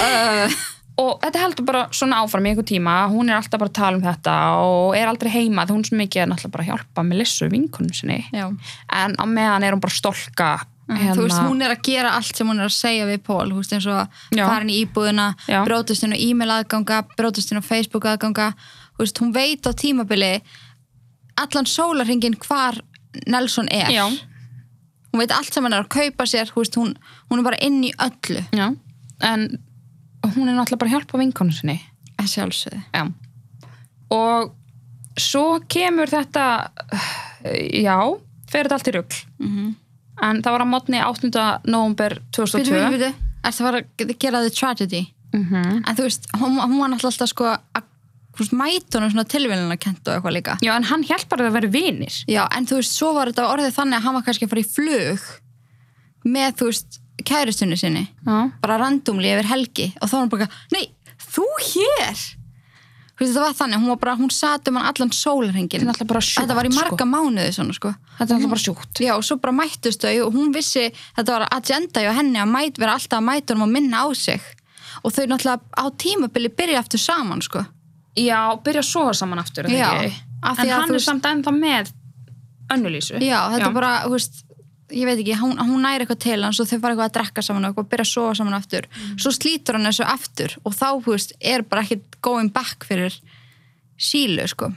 Speaker 1: uh, uh,
Speaker 2: og þetta heldur bara svona áfram í einhver tíma hún er alltaf bara að tala um þetta og er aldrei heima því hún er svo mikið að náttúrulega bara hjálpa með lissu vinkunum sinni
Speaker 1: já
Speaker 2: en á meðan er hún bara að stolka
Speaker 1: Hérna. Þú veist,
Speaker 2: hérna-
Speaker 1: hún er að gera allt sem hún er að segja við Pól, þú veist, eins og
Speaker 2: Já.
Speaker 1: farin í íbúðuna,
Speaker 2: Já.
Speaker 1: brótust henn á e-mail aðganga, brótust henn á Facebook aðganga, þú veist, hún veit á tímabili allan sólarhingin hvar Nelson er.
Speaker 2: já,
Speaker 1: Hún veit allt sem hann er að kaupa sér, þú veist, hún, hún er bara inn í öllu,
Speaker 2: já, en hún er náttúrulega bara að hjálpa vinkunum sinni
Speaker 1: að sjálfsögðu.
Speaker 2: Já. Og svo kemur þetta, já, fer þetta allt í rugl.
Speaker 1: Mhm.
Speaker 2: En það var að mótni 8. november
Speaker 1: Býtu, býtu,
Speaker 2: 2002.
Speaker 1: býtu, er það var að gera the tragedy?
Speaker 2: Mm -hmm.
Speaker 1: En þú veist, hún, hún var náttúrulega alltaf sko að, þú veist, mæta honum svona tilvílun að kenta og eitthvað líka.
Speaker 2: Já, en hann hjálpar þau að vera vinir.
Speaker 1: Já, en þú veist, svo var þetta orðið þannig að hann var kannski að fara í flug með, þú veist, kærustunni sinni
Speaker 2: Já.
Speaker 1: bara randomli yfir helgi og þá var hann bara, nei, þú hér þú veist, það var þannig, hún var bara hún sat um hann allan
Speaker 2: Þetta er
Speaker 1: sólarhengin
Speaker 2: náttúrulega bara sjúkt.
Speaker 1: þetta var í marga
Speaker 2: Sko.
Speaker 1: mánuði svona, sko
Speaker 2: Þetta er náttúrulega bara sjúkt.
Speaker 1: já, og svo bara mættust þau og hún vissi þetta var agenda hjá henni að mæt, vera alltaf að mæta honum og minna á sig og þau náttúrulega á tímabili byrja aftur saman, sko
Speaker 2: Já, byrja að sofa saman aftur. er það
Speaker 1: Já,
Speaker 2: ekki?
Speaker 1: af því
Speaker 2: En
Speaker 1: að þú
Speaker 2: hann er
Speaker 1: veist-
Speaker 2: samt ennþá með önnulísu.
Speaker 1: Já, þetta er bara, þú veist, ég veit ekki, hún, hún næri eitthvað til hans og þau fara eitthvað að drekka saman og eitthvað, byrja að sofa saman aftur. Svo slítur hann þessu aftur og þá, þú veist, er bara ekkit going back fyrir sílu, sko.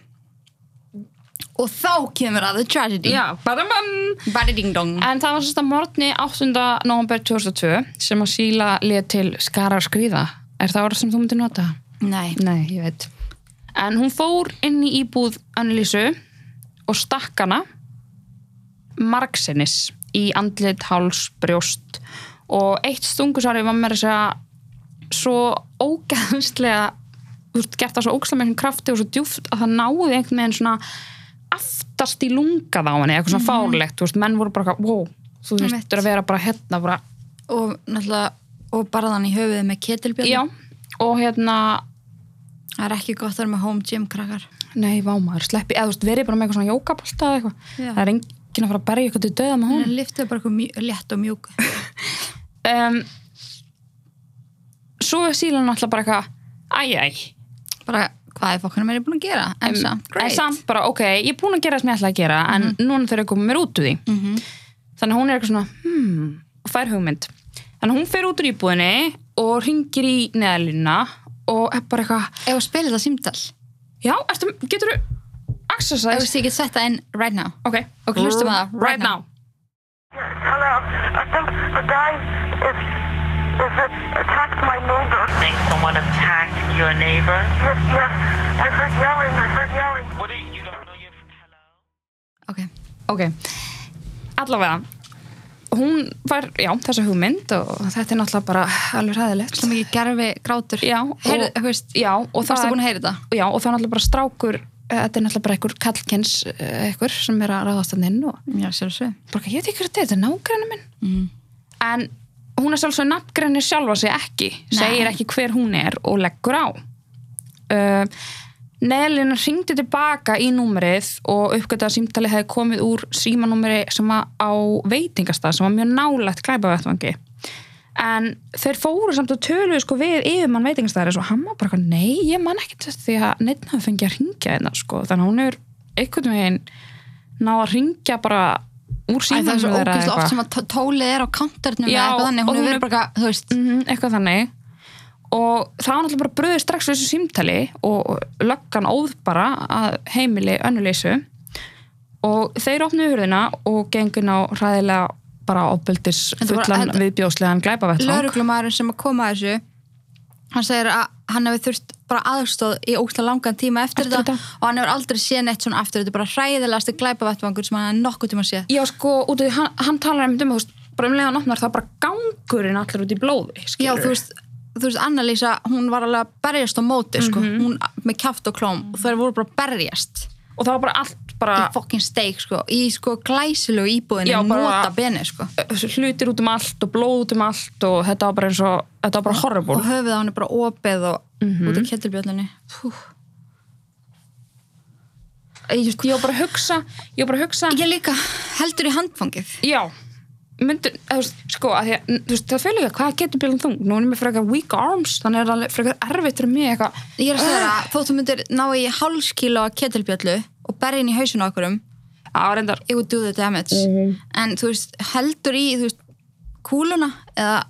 Speaker 1: Og þá kemur að the tragedy.
Speaker 2: Já, bara mann.
Speaker 1: Bari ding dong.
Speaker 2: En það var sérst að morgni 8. november 2002 sem að síla lið til skara að skrýða. Er það orð sem þú myndir nota?
Speaker 1: Nei.
Speaker 2: Nei, ég veit. En hún fór inn í íbúð Annelísu og stakk hana margsinnis í andlit, háls, brjóst og eitt stungusari var með þess að segja svo ógeðslega þú veist, gert það svo ógeðslega með krafti og svo djúft að það náði einhvern veginn svona aftast í lungað á henni eitthvað svona fárlegt, þú veist, menn voru bara eitthvað, wow, þú veist,
Speaker 1: Einmitt.
Speaker 2: þú að vera bara hérna, bara
Speaker 1: Og náttúrulega, og barðan í höfuðið með ketilbjörn.
Speaker 2: já, og hérna
Speaker 1: Það er ekki gott að vera með home gym krakkar.
Speaker 2: Nei, vámaður, sleppi, eða þú veist, verið bara með eitthvað svona jókabalta eða eitthvað.
Speaker 1: Já.
Speaker 2: Það er enginn að fara að berja eitthvað til döða með
Speaker 1: Mm.
Speaker 2: hún.
Speaker 1: Liftið er bara eitthvað mjú- létt og mjúk. Mm.
Speaker 2: Um, svo er sílan alltaf bara eitthvað, æj, æj.
Speaker 1: Bara, hvað er fokkanum er ég búin að gera? En samt, great.
Speaker 2: En samt bara, ok, ég er búin að gera það sem ég ætla að gera, en núna þurfa ég að koma mér út úr því.
Speaker 1: Mhm.
Speaker 2: Þannig að hún er eitthvað svona, hmm, og fær hugmynd. Þannig að hún fer út úr íbúðinni og ringir í neðalínuna og er bara eitthvað,
Speaker 1: Ef að spila þetta símdal.
Speaker 2: Já, ertu, getur þú
Speaker 1: Þú
Speaker 2: exercise?
Speaker 1: veist, ég get sett það inn right now.
Speaker 2: Ok,
Speaker 1: Ok, hlustum á það.
Speaker 2: right, now.
Speaker 3: Hello. I think the guy is is it attacked my neighbor.
Speaker 4: think someone attacked your neighbor?
Speaker 3: Yes, yes. I heard yelling. I heard yelling.
Speaker 4: What do you, you don't know your hello?
Speaker 1: Ok.
Speaker 2: Ok, allavega. Hún var, já, þessa hugmynd og þetta er náttúrulega bara alveg ræðilegt.
Speaker 1: Svo mikið gerfi grátur.
Speaker 2: Já,
Speaker 1: Heyrðu,
Speaker 2: og-
Speaker 1: þú veist,
Speaker 2: Já, og
Speaker 1: varstu
Speaker 2: það
Speaker 1: búin að heyra þetta?
Speaker 2: já, og það er náttúrulega bara strákur eh, þetta er náttúrulega bara einhver kallkins einhver sem er að ráðast hann inn og
Speaker 1: Já, sjálfsög.
Speaker 2: bara, ég veit ekki hvað þetta er, þetta er nágræna minn
Speaker 1: Mhm.
Speaker 2: en hún er sjálfsög nafngræni sjálfa sig ekki, segir ekki hver hún er og leggur á uh, Neðlina hringdi tilbaka í númerið og uppgötaða símtali hefði komið úr símanúmeri sem var á veitingastað sem var mjög nálægt glæpavættvangi en þeir fóru samt og töluðu sko við yfirmann veitingastæðaris og hann var bara eitthvað, nei, ég man ekkert eftir því að neitt hafi fengið að ringja hérna sko, þannig að hún er einhvern veginn ná að ringja bara
Speaker 1: Æ,
Speaker 2: úr
Speaker 1: það
Speaker 2: símanum
Speaker 1: er svo
Speaker 2: þeirra
Speaker 1: ógæslega
Speaker 2: eitthvað.
Speaker 1: oft sem að tó- tólið er á kantarnum
Speaker 2: Já,
Speaker 1: eða eitthvað þannig,
Speaker 2: og
Speaker 1: hún
Speaker 2: hún
Speaker 1: er
Speaker 2: er-
Speaker 1: verið bara, eitthvað, þú veist,
Speaker 2: mm eitthvað þannig og það var náttúrulega bara bröðið strax við þessu símtali og löggan óð bara að heimili önnuleysu og þeir opnuðu hurðina og gengur ná ræðilega bara ábyldis
Speaker 1: Þetta var-
Speaker 2: fullan
Speaker 1: þetta-
Speaker 2: viðbjóðslegan glæpavettvang
Speaker 1: lauruglumæðurinn sem að koma að þessu hann segir að hann hefur þurft bara aðstóð í ógstlega langan tíma eftir,
Speaker 2: Eftir
Speaker 1: þetta,
Speaker 2: þetta.
Speaker 1: og hann hefur aldrei séð neitt svona aftur þetta er bara hræðilegasti glæpavættvangur sem hann hefur nokkuð tíma séð
Speaker 2: Já sko, út af því hann, hann talar um þú veist, bara um leiðan opnar það bara gangurinn allir út í blóði skilur.
Speaker 1: Já, þú veist, þú veist Annalísa, hún var alveg að berjast á móti sko. hún með kjátt og klóm og þær voru bara að berjast
Speaker 2: og það var bara allt bara
Speaker 1: í fucking steik, sko, í sko glæsilegu íbúðinu,
Speaker 2: Ah. Já, bara-
Speaker 1: nota beni, sko
Speaker 2: hlutir út um allt og blóð út um allt og þetta var bara eins og þetta var bara horrible
Speaker 1: og höfuð á hann er bara opið og út af kettilbjöllinni
Speaker 2: ég, ég var bara að hugsa ég var bara að hugsa
Speaker 1: Ég líka heldur í handfangið
Speaker 2: Já, myndur, þú veist, sko, að því að, þú veist, það fyrir líka, hvað getur bílum þung? Nú er ég með frekar weak arms, þannig er það alveg frekar erfitt fyrir mig eitthvað.
Speaker 1: Ég er að segja það, þótt þú myndir ná í hálskíla kettilbjöllu og berja inn í hausinu okkur um,
Speaker 2: Já, reyndar,
Speaker 1: it would do the damage en þú veist, heldur í þú veist, kúluna eða,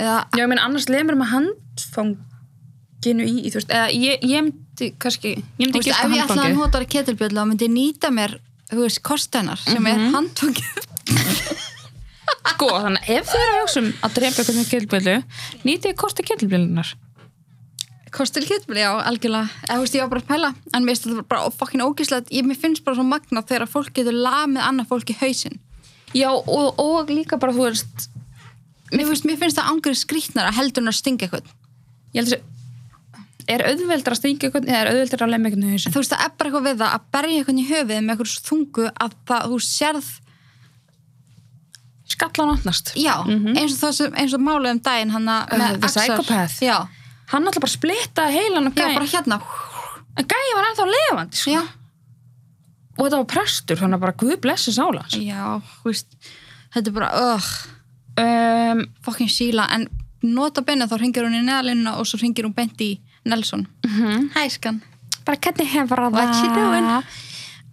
Speaker 1: eða
Speaker 2: já, ég meina, annars lemur maður handfanginu í, þú veist, eða ég, ég myndi, kannski, ég
Speaker 1: þú
Speaker 2: myndi
Speaker 1: veist,
Speaker 2: gista
Speaker 1: ef ég ætlaði að
Speaker 2: handfangið.
Speaker 1: nota kettilbjöllu þá myndi ég nýta mér, þú veist, kostennar sem er handfangið
Speaker 2: Sko, þannig, að ef þið eru að hugsa um að drepa eitthvað með kjöldbjölu, nýtið kosti kjöldbjölunar.
Speaker 1: Kostil kettilbjöllu, já, algjörlega eða, þú veist, ég var bara að pæla, en mér finnst þetta bara fokkin ógíslega, ég mér finnst bara svo magna þegar fólk getur lamið annað fólk í hausinn
Speaker 2: Já, og, og líka bara, þú veist,
Speaker 1: mér finnst, mér finnst það angrið skrýtnara heldur en að stinga eitthvað
Speaker 2: ég held þessi, er auðveldra að stinga eitthvað, eða er auðveldra að lemja eitthvað í hausinn?
Speaker 1: þú veist það er bara eitthvað við það að berja eitthvað í höfuð með eitthvað svo þungu að það þú sérð
Speaker 2: Skallan opnast.
Speaker 1: já, eins og það sem eins og málið um daginn hann að
Speaker 2: Uh, the psychopath.
Speaker 1: já,
Speaker 2: Hann alltaf bara splittaði heilan og
Speaker 1: já
Speaker 2: gæn.
Speaker 1: bara hérna
Speaker 2: En gæði var ennþá levandi sko.
Speaker 1: já,
Speaker 2: og þetta var prestur, þannig að bara guð blessi sála sko. hans.
Speaker 1: já, þú veist þetta er bara, ögh,
Speaker 2: um,
Speaker 1: fokkin síla en nota benið þá ringir hún í neðalina og svo ringir hún beint í Nelson hæ skan,
Speaker 2: bara hvernig hefur það
Speaker 1: What you doing?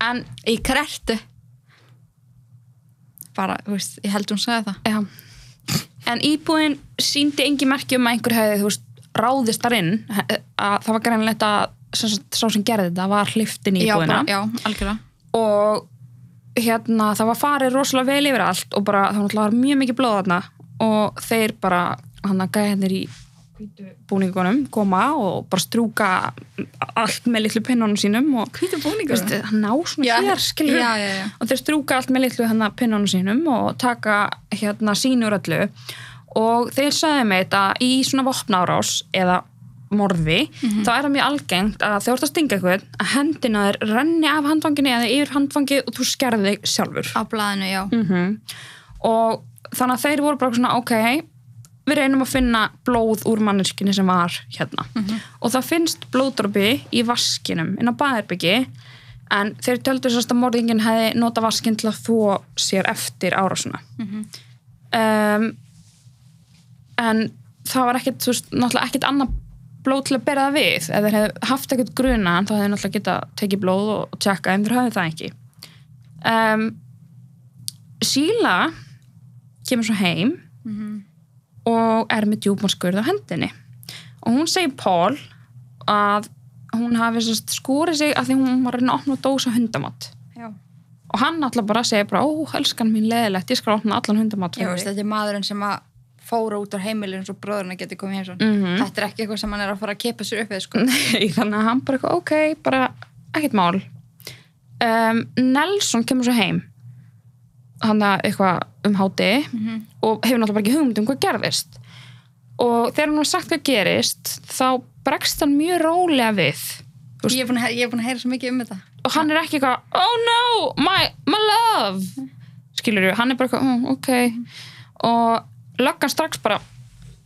Speaker 2: en
Speaker 1: í krertu bara, þú veist, ég held hún sagði það
Speaker 2: já. en íbúðin síndi engi merki um að einhver hefði þú veist, ráðist þar inn he- að það var greinilegt að sem sagt, sá sem gerði þetta var hliftin í
Speaker 1: já,
Speaker 2: íbúðina
Speaker 1: bara, já, algjörlega
Speaker 2: og hérna það var farið rosalega vel yfir allt og bara það var náttúrulega mjög mikið blóð þarna og þeir bara hann að gæða þeir í hvítu búningunum koma og bara strúka allt með litlu pinnunum sínum og
Speaker 1: hvítu búningur
Speaker 2: Veistu, hann ná svona
Speaker 1: Já.
Speaker 2: hér skilur
Speaker 1: Já, já, já.
Speaker 2: og þeir strúka allt með litlu hérna pinnunum sínum og taka hérna sínur öllu og þeir sagði með þetta í svona vopnárás eða morði, þá er það mjög algengt að þegar þú ert að stinga eitthvað að hendina þér renni af handfanginni eða yfir handfangið og þú skerði þig sjálfur
Speaker 1: á blaðinu, já,
Speaker 2: Mm. Mhm. og þannig að þeir voru bara svona ok, við reynum að finna blóð úr manneskinni sem var hérna og það finnst blóðdropi í vaskinum inn á baðherbyggi en þeir töldu sérst að morðingin hefði nota vaskinn til að þó sér eftir árásuna um, en það var ekkit, þú veist, náttúrulega ekkit annað blóð til að bera það við ef þeir hefði haft ekkert grunan þá hefði náttúrulega getað tekið blóð og, og tjekka en þeir hafði það ekki um, Síla kemur svo heim og er með djúpmálskurð á hendinni og hún segir Paul að hún hafi sérst, skúrið sig af því hún var að reyna að opna dósa hundamat
Speaker 1: Já.
Speaker 2: og hann alltaf bara segir bara, ó, elskan mín leðilegt, ég skal opna allan hundamat
Speaker 1: Já,
Speaker 2: fyrir
Speaker 1: veist,
Speaker 2: þig."
Speaker 1: þetta er maðurinn sem að fóra út á heimilin svo bróðurna getur komið heim svo.
Speaker 2: Mhm.
Speaker 1: Þetta er ekki eitthvað sem hann er að fara að kepa sér upp eða sko.
Speaker 2: Nei, þannig að hann bara eitthvað, ok, bara ekkert mál um, Nelson kemur svo heim hann að eitthvað um háti og hefur náttúrulega bara ekki hugmynd um hvað gerðist og þegar hann var sagt hvað gerist þá bregst hann mjög rólega við Þú
Speaker 1: Ég er búin að, ég er búin að heyra svo mikið um þetta.
Speaker 2: og hann er ekki eitthvað oh no, my, my love skilur við, hann er bara eitthvað, "Mm, ok og löggan strax bara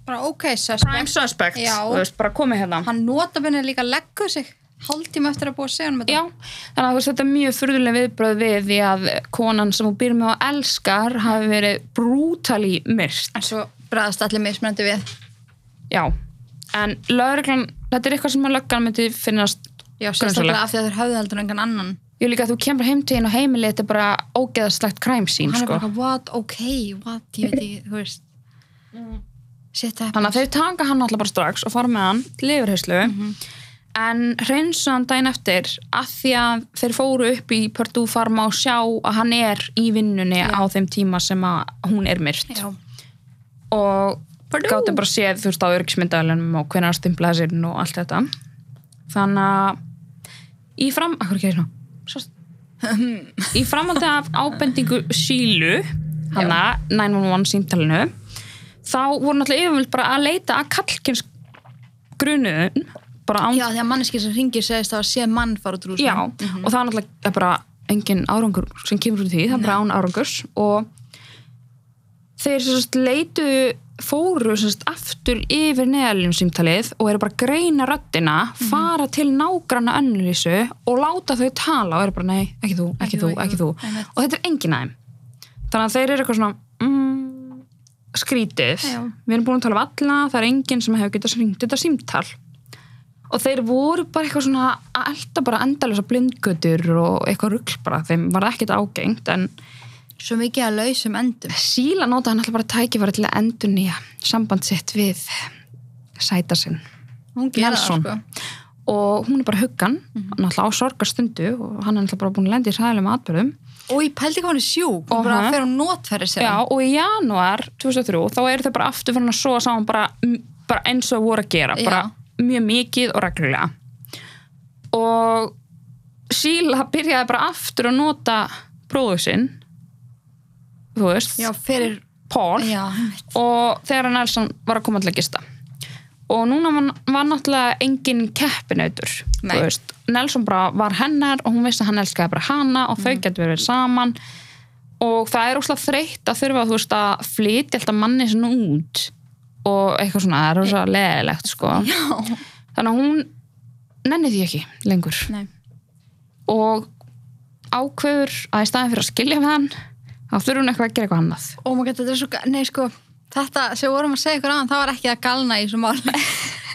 Speaker 1: Bara ok, suspect.
Speaker 2: prime suspect,
Speaker 1: Já.
Speaker 2: þú veist, bara komið hérna
Speaker 1: Hann nota benni líka að leggu sig hálftíma eftir að búa að segja hann um þetta.
Speaker 2: Já, þannig að þú veist þetta er mjög furðulega viðbröð við því að konan sem hún býr með og elskar hafi verið brútali myrst.
Speaker 1: En svo bræðast allir mismunandi við.
Speaker 2: Já, en lögreglan, þetta er eitthvað sem að löggan myndi finnast
Speaker 1: Já, sérstaklega
Speaker 2: grunnslega.
Speaker 1: af því að þeir höfðu heldur engan annan.
Speaker 2: Ég líka að þú kemur heim til hinn og heimilið þetta er bara
Speaker 1: Og
Speaker 2: ógeðaslegt kræmsýn,
Speaker 1: hann er
Speaker 2: sko.
Speaker 1: bara, eitthvað, what, ok, what, ég veit ekki, þú veist. Shit happens.
Speaker 2: Þannig að þeir taka Mhm. hann alltaf bara strax og fara með hann til yfirheyslu
Speaker 1: Mhm.
Speaker 2: en reynsu hann daginn eftir að því að þeir fóru upp í Purdue Pharma og sjá að hann er í vinnunni á þeim tíma sem að hún er myrt.
Speaker 1: Já,
Speaker 2: og
Speaker 1: Purdue.
Speaker 2: gáttu bara séð þú veist á örgismyndavælunum og hvenær stimplaði sér og allt þetta þannig að í fram akkur ekki svona Sást- í framhaldi af ábendingu sílu hana 911 símtalinu þá voru náttúrulega yfirvöld bara að leita að kallkins grunuðun bara án
Speaker 1: já því að manneski sem ringir segist að sé mann fara út úr húsinu. Mhm.
Speaker 2: Já, og það er náttúrulega bara engin árangur sem kemur úr því, það er bara án árangurs og þeir sérst leitu fóru sérst aftur yfir neðaljum símtalið og eru bara að greina röddina, fara til nágranna önnulísu og láta þau tala og eru bara nei, ekki þú, ekki, þú, ekki þú
Speaker 1: einmitt.
Speaker 2: og þetta er engin aðeim þannig að þeir eru eitthvað svona mm, skrítið,
Speaker 1: Já.
Speaker 2: við erum búin að tala um alla það er enginn sem hefur getað hringt þetta símtal og þeir voru bara eitthvað svona að elda bara endalösa blindgötur og eitthvað rugl bara, þeim var það ekkert ágengt en
Speaker 1: Svo mikið að lausum endum.
Speaker 2: síla nota hann alltaf bara tækifæri til að endur nýja samband sitt við sæta sinn
Speaker 1: Hún gerir
Speaker 2: Nelson.
Speaker 1: það, sko.
Speaker 2: og hún er bara huggan, mm -hmm. náttúrulega á sorgarstundu og hann er náttúrulega bara búin að lenda í sæðilegum atbyrðum
Speaker 1: Og ég pældi hvað hann er sjúk. Hún bara
Speaker 2: Aha.
Speaker 1: fer og notferði sér.
Speaker 2: Já, og í janúar 2003 þá eru þau bara aftur fyrir að svo saman bara, bara eins og voru að gera
Speaker 1: Já.
Speaker 2: bara mjög mikið og reglulega og Síla byrjaði bara aftur að nota bróðu sinn þú veist,
Speaker 1: Já, fyrir...
Speaker 2: Paul
Speaker 1: Já, einmitt.
Speaker 2: og þegar hann Nelson var að koma til að gista og núna var, var náttúrulega engin keppinautur
Speaker 1: Nei.
Speaker 2: þú veist. Nelson bara var hennar og hún vissi að hann elskaði bara hana og þau
Speaker 1: Mhm.
Speaker 2: mm. getur verið saman og það er óslega þreytt að þurfa þú veist, að flytja alltaf manni sinni út og eitthvað svona, það er óslega leðilegt sko.
Speaker 1: Já.
Speaker 2: þannig að hún nenni því ekki lengur
Speaker 1: Nei.
Speaker 2: og ákveður að í staðin fyrir að skilja við hann þá þurfur hún eitthvað að gera eitthvað annað
Speaker 1: Oh my god, þetta er svo... ga- Nei, sko, þetta sem við vorum að segja ykkur aðan, það var ekki að galna í þessu mál.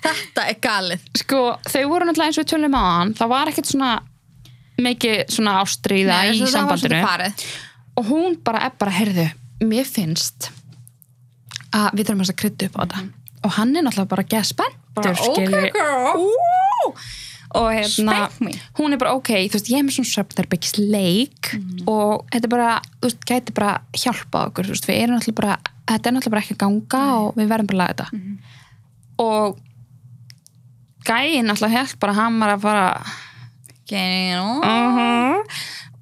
Speaker 1: þetta er galið.
Speaker 2: sko, þau voru náttúrulega eins og við tölum á hann það var ekkert svona mikið svona ástríða
Speaker 1: Nei,
Speaker 2: í
Speaker 1: þetta var
Speaker 2: sambandinu
Speaker 1: svolítið farið.
Speaker 2: og hún bara er bara, heyrðu, mér finnst að við þurfum að krydda upp á þetta og hann er náttúrulega bara
Speaker 1: Mhm. Bara,
Speaker 2: gæðspendur
Speaker 1: ok, girl. Úúú.
Speaker 2: og hérna,
Speaker 1: Spank me.
Speaker 2: hún er bara ok þú veist, ég er með svona svefnarbyggis leik og þetta er bara, þú veist, gæti bara hjálpað okkur, þú veist, við erum náttúrulega bara þetta er náttúrulega bara ekki að ganga og við verðum bara að laga þetta og gæin náttúrulega held bara hann var að fara
Speaker 1: Geinu.
Speaker 2: -huh. Mhm.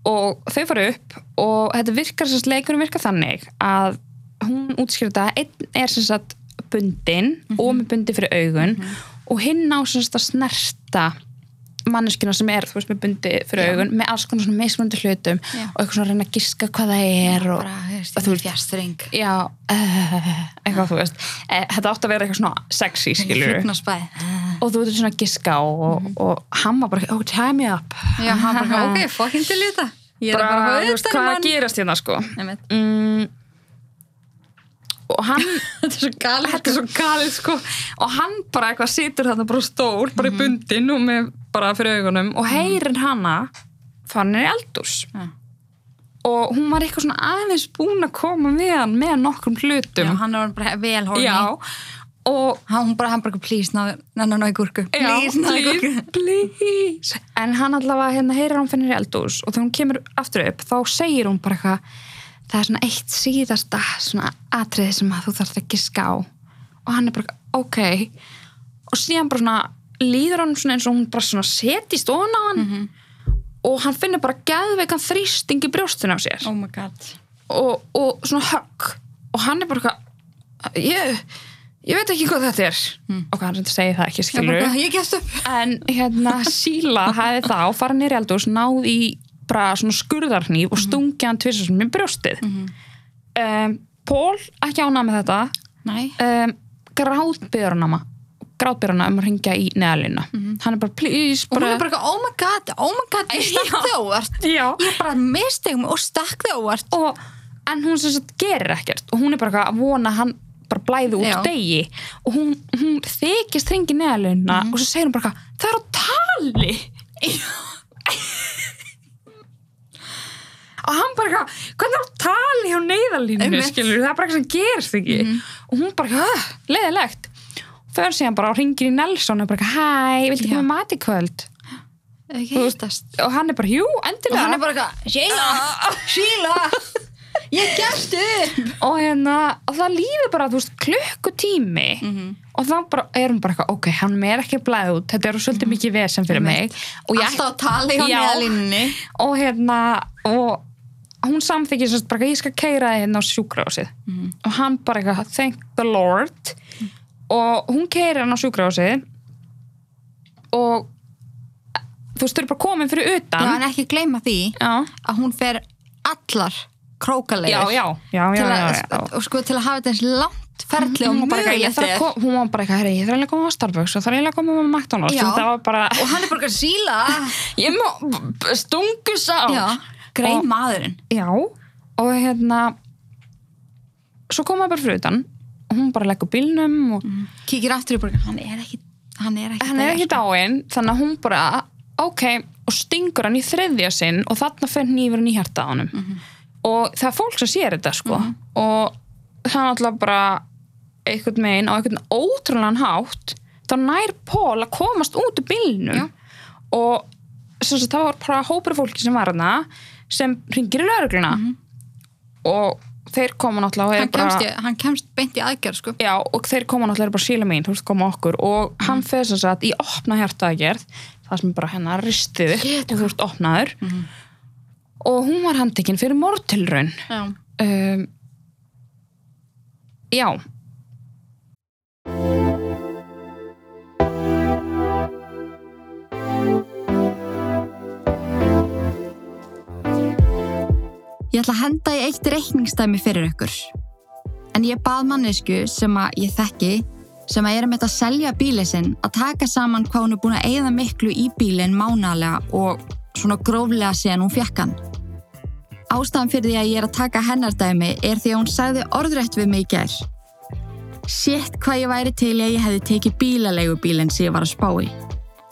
Speaker 2: og þau fara upp og þetta virkar sérst leikurinn virkar þannig að hún útskýrði þetta að einn er sérst bundin og
Speaker 1: Mhm.
Speaker 2: með bundi fyrir augun og hinn á sérst að snerta manneskina sem er, þú veist, með bundi fyrir augun með alls konar svona meismöndi hlutum
Speaker 1: Já.
Speaker 2: og eitthvað svona að reyna að giska hvað það er og,
Speaker 1: Bara,
Speaker 2: og
Speaker 1: þú veist,
Speaker 2: þú veist,
Speaker 1: fjastring.
Speaker 2: já uh, eitthvað þú veist, eh, þetta átti að vera eitthvað svona sexy skilur
Speaker 1: Hrugnarsbæði.
Speaker 2: og þú veitur svona að giska og, og, og hann var bara, oh tie me up
Speaker 1: Mhm. Já, hann bara, ok, fucking til í þetta. Ég er
Speaker 2: bara,
Speaker 1: bara að
Speaker 2: þú
Speaker 1: hafa
Speaker 2: veist,
Speaker 1: utan
Speaker 2: hvað
Speaker 1: um
Speaker 2: er
Speaker 1: hann.
Speaker 2: að gerast hérna sko
Speaker 1: Einmitt.
Speaker 2: mm, og hann
Speaker 1: Þetta er svo galið.
Speaker 2: þetta er svo galið sko og hann bara eitthvað situr þarna bara stór bara í bundin og með bara fyrir augunum og heyrir hana farin er í eldús
Speaker 1: Já.
Speaker 2: og hún var eitthvað svona aðeins búin að koma við hann með nokkrum hlutum
Speaker 1: Já, hann var bara vel horny.
Speaker 2: Já, og
Speaker 1: hann bara, hann bara, please, náðu, náðu, náðu í gúrku please, náðu í gúrku
Speaker 2: please, please. En hann allavega hérna heyrir að hún finnir í eldús og þegar hún kemur aftur upp þá segir hún bara eitthvað það er svona eitt síðasta svona atriði sem að þú þarft að giska á og hann er bara ok og síðan bara svona líður hann svona eins og hún bara svona setist ofan á hann
Speaker 1: Mhm.
Speaker 2: og hann finnur bara geðveikan þrýsting í brjóstinu á sér
Speaker 1: oh my god
Speaker 2: og, og svona högg og hann er bara eitthvað ég, ég veit ekki hvað þetta er ok, hann reyndi að segja það ekki
Speaker 1: ég,
Speaker 2: skilur
Speaker 1: Mm. bara, ég gefst upp
Speaker 2: en hérna Síla hafði þá farið nýri eldús náð í bara svona skurðarhníf og stungið hann tvisar sem í brjóstið mm Pól ekki ánað með þetta
Speaker 1: Nei.
Speaker 2: um, grátbyrunama grátbyruna um að ringja í neðalina hann er bara please
Speaker 1: og hún
Speaker 2: bara,
Speaker 1: er bara, eitthvað, oh my god, oh my god ég stakk þig óvart
Speaker 2: Já.
Speaker 1: ég bara misteg mig og stakk þig óvart
Speaker 2: og, en hún sem sagt gerir ekkert og hún er bara eitthvað að vona að hann bara blæði út
Speaker 1: Já.
Speaker 2: degi og hún, hún þykist ringi neðalina
Speaker 1: Mhm.
Speaker 2: og svo segir hún bara eitthvað það er á tali og hann bara eitthvað, hvernig er á tali hjá neyðalínu
Speaker 1: Einmitt. Mhm.
Speaker 2: skilur, það er bara eitthvað sem gerst ekki og hún bara eitthvað, "Ugh, leiðilegt þau er síðan bara á ringir í Nelson og bara eitthvað, hæ, viltu
Speaker 1: Já.
Speaker 2: koma með mati kvöld
Speaker 1: Ég
Speaker 2: Þú veist,
Speaker 1: hittast.
Speaker 2: og hann er bara, jú,
Speaker 1: og
Speaker 2: endilega
Speaker 1: hann er bara eitthvað,
Speaker 2: Ah.
Speaker 1: Sheila Sheila, ég gefst upp
Speaker 2: og hérna, og það líður bara þú veist, klukkutími
Speaker 1: Mhm.
Speaker 2: og þá bara, er hún bara eitthvað, ok, hann er ekki blæð út, þetta eru svolítið mikið vesen fyrir mig og ég,
Speaker 1: Mhm. alltaf að tala í hann
Speaker 2: Já.
Speaker 1: neðalínni
Speaker 2: og hérna og hún samþykir sérst bara, eitthvað, ég skal keira þið hérna á sjúkrahúsið
Speaker 1: Mhm.
Speaker 2: og hann bara eitthvað, thank the lord og hún keira hann á sjúkrahúsið og þú veist, þau eru bara komin fyrir utan
Speaker 1: já, en ekki gleyma því
Speaker 2: já,
Speaker 1: að hún fer allar
Speaker 2: já,
Speaker 1: krókalegir
Speaker 2: já, já, já,
Speaker 1: til
Speaker 2: já,
Speaker 1: að,
Speaker 2: já.
Speaker 1: og sko til að hafa þetta eins langt ferli og
Speaker 2: hún var bara eitthvað, ég
Speaker 1: mögulegt
Speaker 2: þarf að
Speaker 1: er
Speaker 2: koma- hún var bara eitthvað, herri, ég þarf eiginlega að koma á Starbucks og þarf eiginlega að koma á McDonalds
Speaker 1: Já.
Speaker 2: og það var bara,
Speaker 1: og hann er bara eitthvað síla
Speaker 2: ég má b- b- stungu sá
Speaker 1: já, grei
Speaker 2: Og-
Speaker 1: maðurinn
Speaker 2: Já, og hérna svo kom hann bara fyrir utan og hún bara leggur bílnum og
Speaker 1: kíkir aftur í borgar, hann er ekki hann er ekki,
Speaker 2: hann er
Speaker 1: deyr.
Speaker 2: ekki dáinn þannig að hún bara, ok og stingur hann í þriðja sinn og þarna fer nýfurinn í hjarta á honum
Speaker 1: Mhm.
Speaker 2: og það er fólk sem sér þetta sko og það er alltaf bara einhvern megin á einhvern ótrúlegan hátt þá nær Pól að komast út úr bílnum
Speaker 1: Já.
Speaker 2: og sem sagt, það var bara hópur af fólki sem var hana sem ringir í lögregluna og þeir koma náttúrulega og eru
Speaker 1: Mhm. hann, kemst, í- hann kemst beint í aðgerð sko.
Speaker 2: Já, og þeir koma náttúrulega bara síla mín, þú veist, koma okkur og hann mm. fyrir þess að í opna hjartaðgerð það sem bara hennar ristið upp
Speaker 1: Shit.
Speaker 2: og þú ert opnaður og hún var handtekinn fyrir mortilraun
Speaker 1: já.
Speaker 2: um, Já
Speaker 1: Ég ætla að henda í eitt reikningsdæmi fyrir ykkur. En ég bað mannesku sem að ég þekki, sem að er um þetta að selja bíli sinn, að taka saman hvað hún er búin að eigða miklu í bílinn mánalega og svona gróflega síðan hún fekk hann. Ástæðan fyrir því að ég er að taka hennar dæmi er því að hún sagði orðrætt við mig í gær. Sétt hvað ég væri til að ég hefði tekið bílalegu bílinn sem ég var að spá í.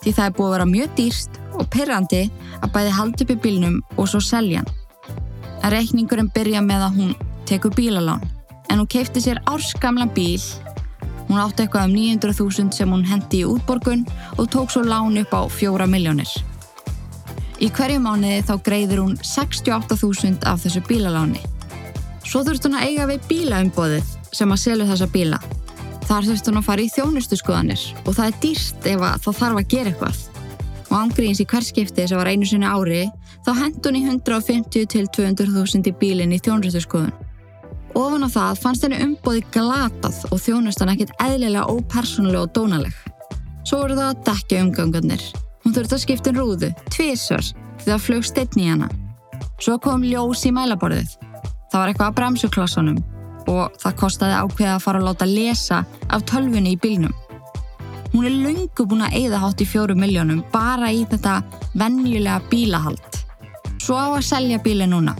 Speaker 1: Því það er búið að vera mjög dýrst og pyrrandi að bæði halda upp í bílnum og svo selja hann að reikningurinn byrja með að hún tekur bílalán. En hún keipti sér árskamlan bíl, hún átti eitthvað um 900.000 sem hún hendi í útborgun og tók svo lán upp á 4 miljónir. Í hverju mánuði þá greiður hún 68.000 af þessu bílaláni. Svo þurft hún að eiga við bílaumbóðið sem að selja þessa bíla. Þar þurft hún að fara í þjónustu skoðanir og það er dýrt ef að það þarf að gera eitthvað og ángríns í hverskipti sem var einu sinni á ári, þá hendur hún í 150 til 200.000 í bílinn í þjónristuskoðun. Ofan á það fannst henni umboði glatað og þjónustan ekkert eðlilega ópersónuleg og dónaleg. Svo voru það að dekja umgangarnir. Hún þurfti að skipta um rúðu, tvísvar, því það flög steinn í hana. Svo kom ljós í mælaborðið. Það var eitthvað að bremsuklossunum og það kostaði ákveða að fara að láta lesa af tölfunni í bílnum. Hún er löngu búin að eyða hátt í fjóru miljónum bara í þetta venjulega bílahald. Svo á að selja bíli núna.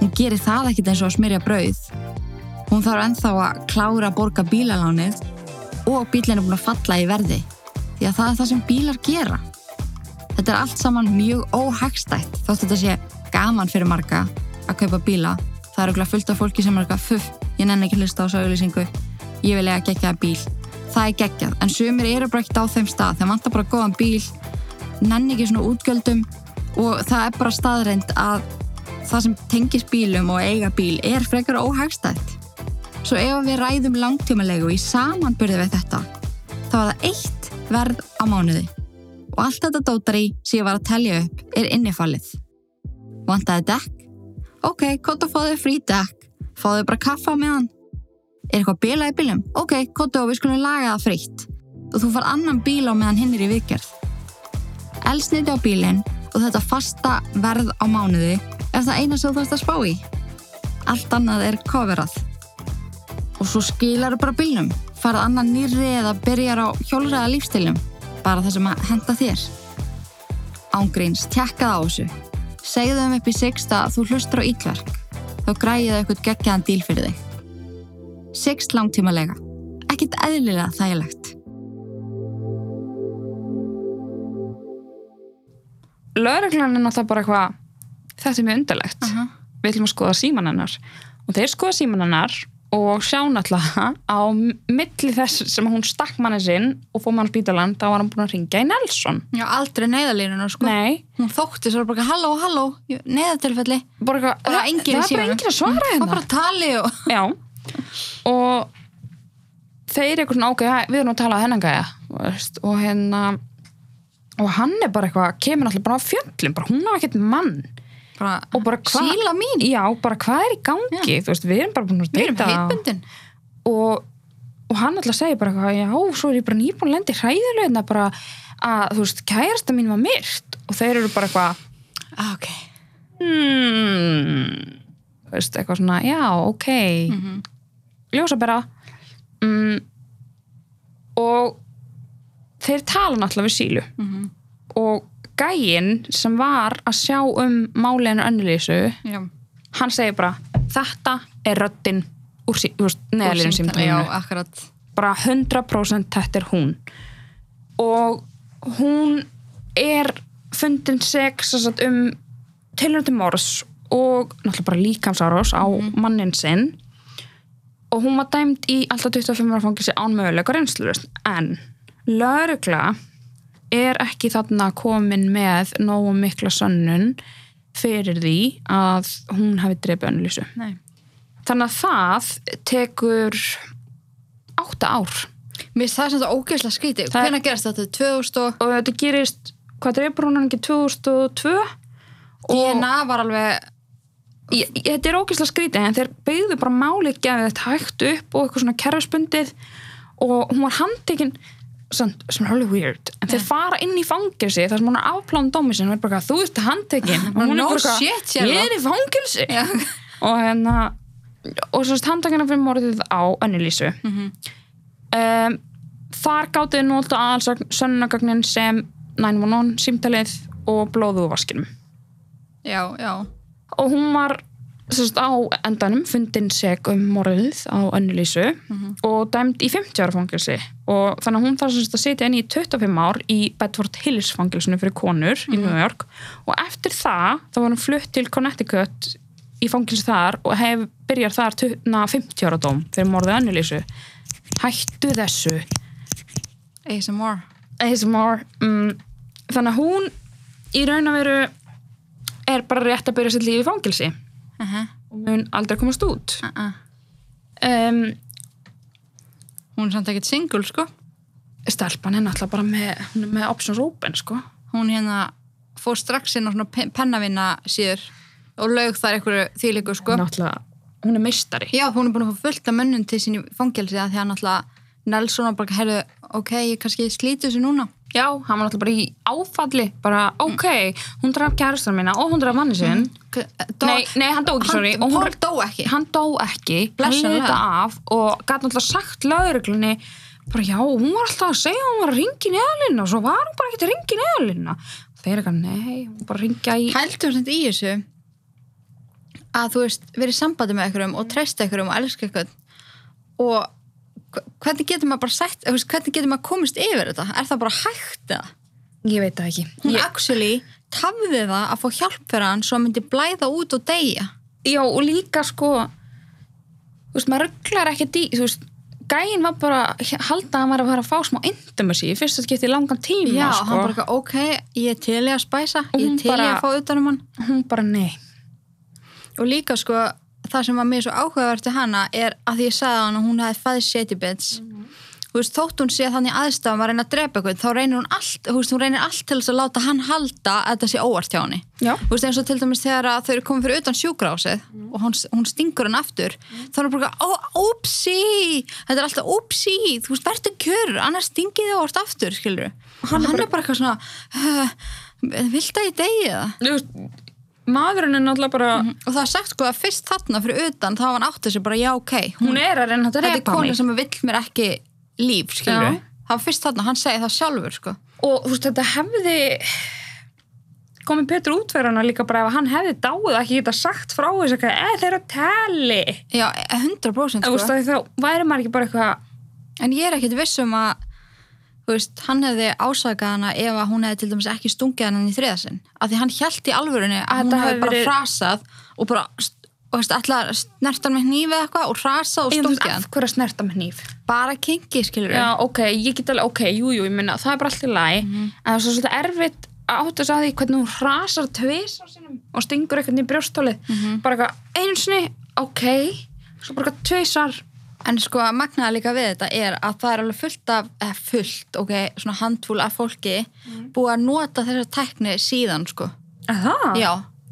Speaker 1: Hún gerir það ekkit eins og að smyrja brauð. Hún þarf ennþá að klára að borga bílalánið og bílinn er búin að falla í verði. Því að það er það sem bílar gera. Þetta er allt saman mjög óhagstætt þótt þetta sé gaman fyrir marga að kaupa bíla. Það er okkur fullt af fólki sem er eitthvað fuff, ég nenni ekki að hlusta á svo auðlýsingu, ég vil eiga gegja bíl það er geggjað, en sumir eru bara ekkert á þeim stað, þeim vantar bara góðan bíl nenni ekki svona útgjöldum og það er bara staðreind að það sem tengist bílum og eiga bíl er frekar óhagstætt svo ef við ræðum langtímalegu í samanburði við þetta þá er það eitt verð á mánuði og allt þetta dótar í sem ég var að telja upp er innifallið vantaði dekk? ok, kóta fóðu frí dekk fóðu bara kaffa með hann Er eitthvað bíla í bílum? Ok, kottu og við skulum laga það frítt. Og þú far annan bíl á meðan hinn er í viðgerð. Elsniti á bílinn og þetta fasta verð á mánuði er það eina sem þú þarfst að spá í. Allt annað er coverað. Og svo skilar bara bílnum. Farð annan nýrri eða byrjar á hjólræða lífstilum. Bara það sem að henda þér. Ángríns, tekka það á þessu. Segðu þeim upp í sexta að þú hlustur á ítverk. Þá græði það eitthvað geggjaðan díl fyrir þig. 6 langtímalega. Ekkert eðlilega þægilegt.
Speaker 2: Lögreglan er náttúrulega bara eitthvað þetta er mjög undarlegt við ætlum að skoða síman hennar og þeir skoða síman hennar og sjá náttúrulega á milli þess sem hún stakk manni sinn og fór mann á spítalan þá var hann búin að ringja í Nelson
Speaker 1: Já, aldrei neyðalínuna, sko.
Speaker 2: Nei,
Speaker 1: Hún þótti svo bara, halló, halló, neyðatilfelli.
Speaker 2: bara eitthvað,
Speaker 1: Það var enginn í
Speaker 2: það var bara
Speaker 1: símanum.
Speaker 2: enginn að svara
Speaker 1: Það
Speaker 2: hérna
Speaker 1: var bara tali og...
Speaker 2: Já og þeir eru eitthvað svona ákveð við erum að tala að hennan gæja þú veist, og hérna og hann er bara eitthvað, kemur alltaf bara á fjöllum bara hún á ekkert mann
Speaker 1: Bara,
Speaker 2: og bara hvað
Speaker 1: Síla mín.
Speaker 2: já, bara hvað er í gangi, þú veist, við erum bara búin að
Speaker 1: Við erum
Speaker 2: deyta
Speaker 1: heitbundin.
Speaker 2: og, og hann alltaf segir bara eitthvað, já, svo er ég bara nýbúin að lendi hræðilegna bara að, þú veist, kærasta mín var myrt og þeir eru bara eitthvað
Speaker 1: Ah, ok.
Speaker 2: hmm, þú veist, eitthvað svona, já, ok
Speaker 1: Mhm,
Speaker 2: ljósabera mm, og þeir tala náttúrulega við sílu
Speaker 1: Mhm.
Speaker 2: og gæinn sem var að sjá um máliðinu önnulísu,
Speaker 1: Já.
Speaker 2: hann segir bara þetta er röddin úr, sí, úr neðalínu
Speaker 1: Símtali, Já,
Speaker 2: símtælinu
Speaker 1: akkurat.
Speaker 2: bara 100% þetta er hún og hún er fundin sex sem sagt, um tilhjöndum morðs og náttúrulega bara líkamsárás á mannin sinn og hún var dæmd í alltaf 25 ára fangilsi án möguleika reynslurust en lörugla er ekki þarna komin með nógu mikla sönnun fyrir því að hún hafi drefið önnlýsu
Speaker 1: Nei.
Speaker 2: þannig að það tekur átta ár
Speaker 1: Mér finnst það sem þetta ógeðslega skrítið.
Speaker 2: Það-
Speaker 1: Hvenær gerast þetta? 2000 og...
Speaker 2: og þetta gerist hvað dreipur hún hann ekki 2002 og
Speaker 1: DNA var alveg...
Speaker 2: ég, ég, þetta er ógeðslega skrítið en þeir byggðu bara málið gefið þetta hægt upp og eitthvað svona kerfispundið og hún var handtekinn samt, sem er alveg weird en þeir fara inn í fangilsi þar sem hún er afpláðan dómi sinni og er bara eitthvað, þú ert handtekinn og hún er
Speaker 1: No
Speaker 2: bara eitthvað,
Speaker 1: shit, Sherlock.
Speaker 2: ég er í fangilsi
Speaker 1: Já.
Speaker 2: og hérna og svo handtakana fyrir morðið á Önnulísu mm -hmm. um, þar gáttu þau nólt aðal sönnagagnin sem 911 símtalið og blóðuðu vaskinum
Speaker 1: Já, já.
Speaker 2: og hún var sérst, á endanum fundin seg um morðið á Önnulísu og dæmd í 50 ára fangilsi og þannig að hún þarf sérst, að sitja inn í 25 ár í Bedford Hills fangilsinu fyrir konur í New York og eftir það þá var hún flutt til Connecticut í fangilsi þar og hef, byrjar þar tu- na, 50 ára dóm fyrir morðið á Önnulísu hættu þessu
Speaker 1: ASMR.
Speaker 2: ASMR mm, þannig að hún í raun og veru er bara rétt að byrja sitt líf í fangilsi
Speaker 1: Uh -huh.
Speaker 2: og mun aldrei komast út
Speaker 1: uh -uh.
Speaker 2: um,
Speaker 1: Hún er samt ekkert single, sko.
Speaker 2: stelpan er náttúrulega bara með, hún er með options open sko
Speaker 1: hún hérna fór strax inn á svona pe- pennavinna síður og lög þar einhverju þýlíku sko.
Speaker 2: náttúrulega, hún er meistari
Speaker 1: Já, hún er búin að fá fullt af mönnum til sín í fangelsi að því að náttúrulega Nelson var bara, herðu, ok, ég kannski slíti þessu núna.
Speaker 2: já, hann var náttúrulega bara í áfalli bara, ok, hún draf kærastan mína og hún draf manni sinn
Speaker 1: eh, Dó,
Speaker 2: Mm. nei, nei, hann dó ekki, sorry
Speaker 1: Hann,
Speaker 2: og hún,
Speaker 1: Paul dó ekki.
Speaker 2: hann dó ekki, hann
Speaker 1: Blessaður.
Speaker 2: leta af og gæti náttúrulega sagt lögreglunni bara já, hún var alltaf að segja að hún var að ringi neðalina og svo var hún bara ekkert að ringi neðalina þeir eru eitthvað, nei, hún var bara að ringja í
Speaker 1: Hældum sem í þessu að þú veist, verið í sambandi með einhverjum og treysta einhverjum og elska einhvern og hv- hvernig getur maður bara sett, þú veist, hvernig getur maður komist yfir þetta? Er það bara hægt eða?
Speaker 2: ég veit það ekki
Speaker 1: hún
Speaker 2: ég,
Speaker 1: actually tafði það að fá hjálp fyrir hann svo hann myndi blæða út og deyja
Speaker 2: já, og líka sko þú veist, maður rugglar ekkert í þú veist, gæinn var bara halda að hann var að fara að fá smá intimacy í fyrsta skipti í langan tíma
Speaker 1: Já,
Speaker 2: sko.
Speaker 1: hann bara eitthvað, ok, ég er til í að spæsa,
Speaker 2: Og
Speaker 1: ég
Speaker 2: hún
Speaker 1: er til í
Speaker 2: bara-
Speaker 1: að fá utan um hann.
Speaker 2: hún bara nei
Speaker 1: Og líka sko, það sem var mér svo áhugavert til hana er að því ég sagði hann að hún hefði fæðið shady bits. Þú veist, þótt hún sé að þannig aðstæðan var að reyna að drepa eitthvað, þá reynir hún allt, þú veist, hún reynir allt til þess að láta hann halda að þetta sé óvart hjá henni.
Speaker 2: Já.
Speaker 1: Þú veist, eins og til dæmis þegar að þau eru komið fyrir utan sjúkrásið og hún, hún stingur hann aftur, þá er hún bara, ó, ópsi, þetta er alltaf ópsi, þú veist, verður kjör, annars stingið þið óvart aftur, skilur. Hann, hann er bara eitthvað svona, "Huh, viltu að ég degi það?
Speaker 2: Þú veist, maðurinn er náttúrulega bara
Speaker 1: og það er sagt sko að fyrst þarna fyrir utan þá var hann átti sig bara já ok hún,
Speaker 2: hún er að reyna að
Speaker 1: þetta er
Speaker 2: drepa
Speaker 1: kona
Speaker 2: mig
Speaker 1: sem vill mér ekki líf skilur
Speaker 2: Já.
Speaker 1: það var fyrst þarna, hann segi það sjálfur sko
Speaker 2: og þú veist þetta hefði komið betur útverðuna líka bara ef hann hefði dáið ekki geta sagt frá þess að eh, þeir eru að tali
Speaker 1: já, 100%
Speaker 2: þú veist
Speaker 1: sko
Speaker 2: að þá væri maður ekki bara eitthvað
Speaker 1: en ég er ekkit viss um að þú veist, hann hefði ásakað hana ef að hún hefði til dæmis ekki stungið hann í þriðasinn af því hann hjælt í alvörunni að
Speaker 2: þetta
Speaker 1: hún hefði
Speaker 2: hafi
Speaker 1: bara
Speaker 2: verið-
Speaker 1: frasað og bara st- og veist, allar snertan með hnífið eitthvað og frasað og
Speaker 2: Ég, þú veist,
Speaker 1: stungið hann
Speaker 2: af hverju að snerta með hníf
Speaker 1: bara kengi skilur
Speaker 2: já ok, ég get alveg, ok, jú, jú, ég minna það er bara allt í lagi, en það er svo svolítið erfitt að átta þess að því hvernig hún hrasar tvis á sinum og stingur eitthvað í brjóstólið bara eitthvað einu sinni, ok svo bara eitthvað tvisar
Speaker 1: En sko að magnaða líka við þetta er að það er alveg fullt af, eða fullt, ok, svona handfúl af fólki búið að nota þessa tækni síðan, sko.
Speaker 2: Aha.
Speaker 1: Já,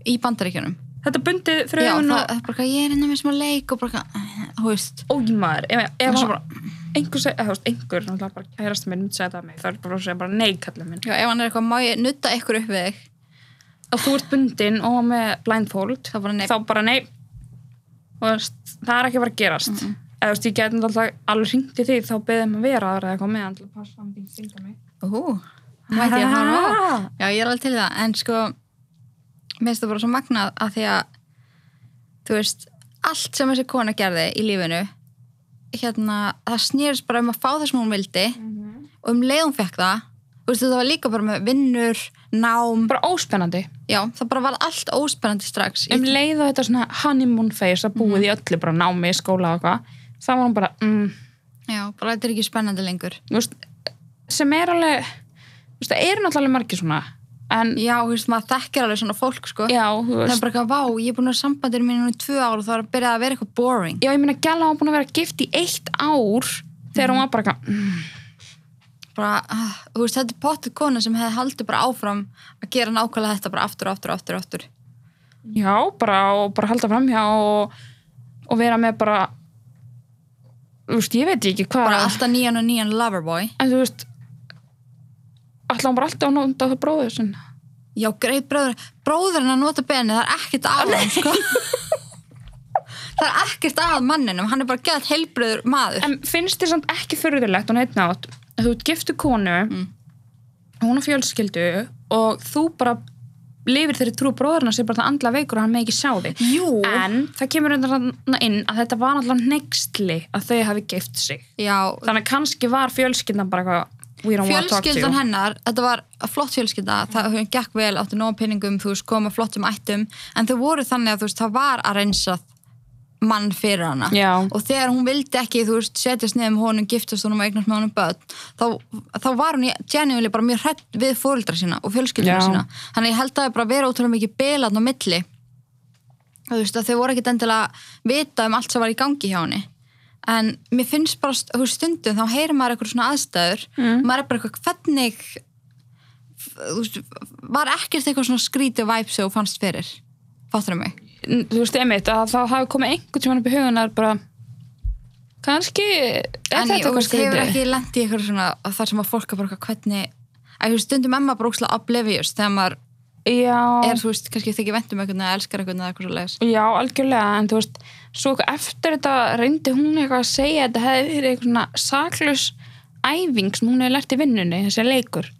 Speaker 1: í bandaríkjunum.
Speaker 2: þetta bundið
Speaker 1: Já, það,
Speaker 2: fröðun Ah. og
Speaker 1: það er bara eitthvað, ég er hérna með smá leik og bara eitthvað, eh, þú veist.
Speaker 2: ógmaður ef, ef
Speaker 1: Og svo
Speaker 2: hann bara einhver, seg, eða, þú veist, einhver náttúrulega bara kærasti minn myndi segja það að mig þá er bara að segja bara nei kallið minn
Speaker 1: Já, ef hann er eitthvað, má ég nutta ykkur upp við þig?
Speaker 2: og þú ert bundin og með blindfold
Speaker 1: Þá bara nei.
Speaker 2: þá bara nei Og þú veist, það er ekki bara að gerast mm -hmm. eða þú veist, ég geti náttúrulega alveg hringt í því þá beðið maður vera aðra eða eitthvað með hann til að passa hann þín stinga mig
Speaker 1: Ú, mætti ég að fara á.
Speaker 2: Ah.
Speaker 1: Já, ég er alveg til í það, en sko mér finnst það bara svo magnað að því að þú veist, allt sem þessi kona gerði í lífinu hérna, það snýrist bara um að fá það sem hún vildi og um leið hún fekk það þú veist, það var líka bara með vinnur nám,
Speaker 2: bara óspennandi
Speaker 1: já, það bara var allt óspennandi strax
Speaker 2: um
Speaker 1: ég,
Speaker 2: leið og þetta svona honeymoon face að búið í öllu bara námi, skóla og eitthvað þá var hún bara mm,
Speaker 1: Já, bara þetta er ekki spennandi lengur
Speaker 2: þú veist, sem er alveg þú veist, það eru náttúrulega margir svona en
Speaker 1: Já, þú veist, maður þekkir alveg svona fólk, sko
Speaker 2: já, þú
Speaker 1: það
Speaker 2: veist
Speaker 1: er bara eitthvað, vá, ég er búin að sambandir mínu núna í tvö ár og það var að byrja að vera eitthvað boring
Speaker 2: já, ég meina Gjalla var búin að vera gift í eitt ár þegar hún var bara eitthvað mm,
Speaker 1: bara, ah, þú veist, þetta er pottu kona sem hefði haldið bara áfram að gera nákvæmlega þetta bara aftur, aftur, aftur, aftur
Speaker 2: já, bara, og bara halda framhjá og, og vera með bara þú veist, ég veit ekki hvað
Speaker 1: bara alltaf nýjan og nýjan loverboy
Speaker 2: en þú veist alltaf hún bara alltaf að nota það bróður sinn
Speaker 1: já, greið bróður, bróðurinn að nota benni það er ekkert að hann, sko það er ekkert að manninum hann er bara gett heilbröður maður
Speaker 2: en finnst þér samt ekki furðulegt og neitt nátt að þú ert giftu konu
Speaker 1: Mm.
Speaker 2: hún er fjölskyldu og þú bara lifir þeirri trú bróðurna sem bara það andla veikur og hann með ekki sjá þig
Speaker 1: jú,
Speaker 2: en það kemur undan inn að þetta var náttúrulega nextli að þau hafi gift sig
Speaker 1: já,
Speaker 2: þannig að kannski var fjölskyldan bara eitthvað we don't want to talk to you Mm.
Speaker 1: fjölskyldan hennar þetta var flott fjölskylda, það hún gekk vel átti nóg af peningum, þú veist, koma flottum ættum en þau voru þannig að þú veist, það var að reynsa mann fyrir hana
Speaker 2: Já.
Speaker 1: og þegar hún vildi ekki, þú veist, setjast niður með honum, giftast honum og eignast með honum börn þá, þá var hún genuinely bara mjög hrætt við fóreldra sína og fjölskyldina
Speaker 2: Já.
Speaker 1: sína þannig að ég held að það er bara verið ótrúlega mikið bilaðn á milli þú veist, að þau voru ekkit endilega vita um allt sem var í gangi hjá henni en mér finnst bara, st- þú veist, stundum þá heyrir maður eitthvað svona aðstæður mm. maður er bara eitthvað hvernig þú veist, var ekkert eitthvað svona skrítið væp sem þú fannst fyrir fattur mig
Speaker 2: N- þú veist einmitt að þá hafi komið einhvern tímann upp í hugunar bara kannski er
Speaker 1: en
Speaker 2: þetta
Speaker 1: ég
Speaker 2: eitthvað
Speaker 1: veist, hefur
Speaker 2: skrítið
Speaker 1: ekki lent í eitthvað svona þar sem að fólk er bara eitthvað hvernig að þú veist, stundum emma bróksla oblivious þegar maður
Speaker 2: já,
Speaker 1: er, þú veist, kannski þykir vendum eitthvað eða elskar eitthvað eða eitthvað svo leiðis
Speaker 2: já, algjörlega en þú veist, svo eitthvað eftir þetta reyndi hún eitthvað að segja að þetta hefði verið eitthvað svona saklaus æfing sem hún hefði lært í vinnunni, þessi leikur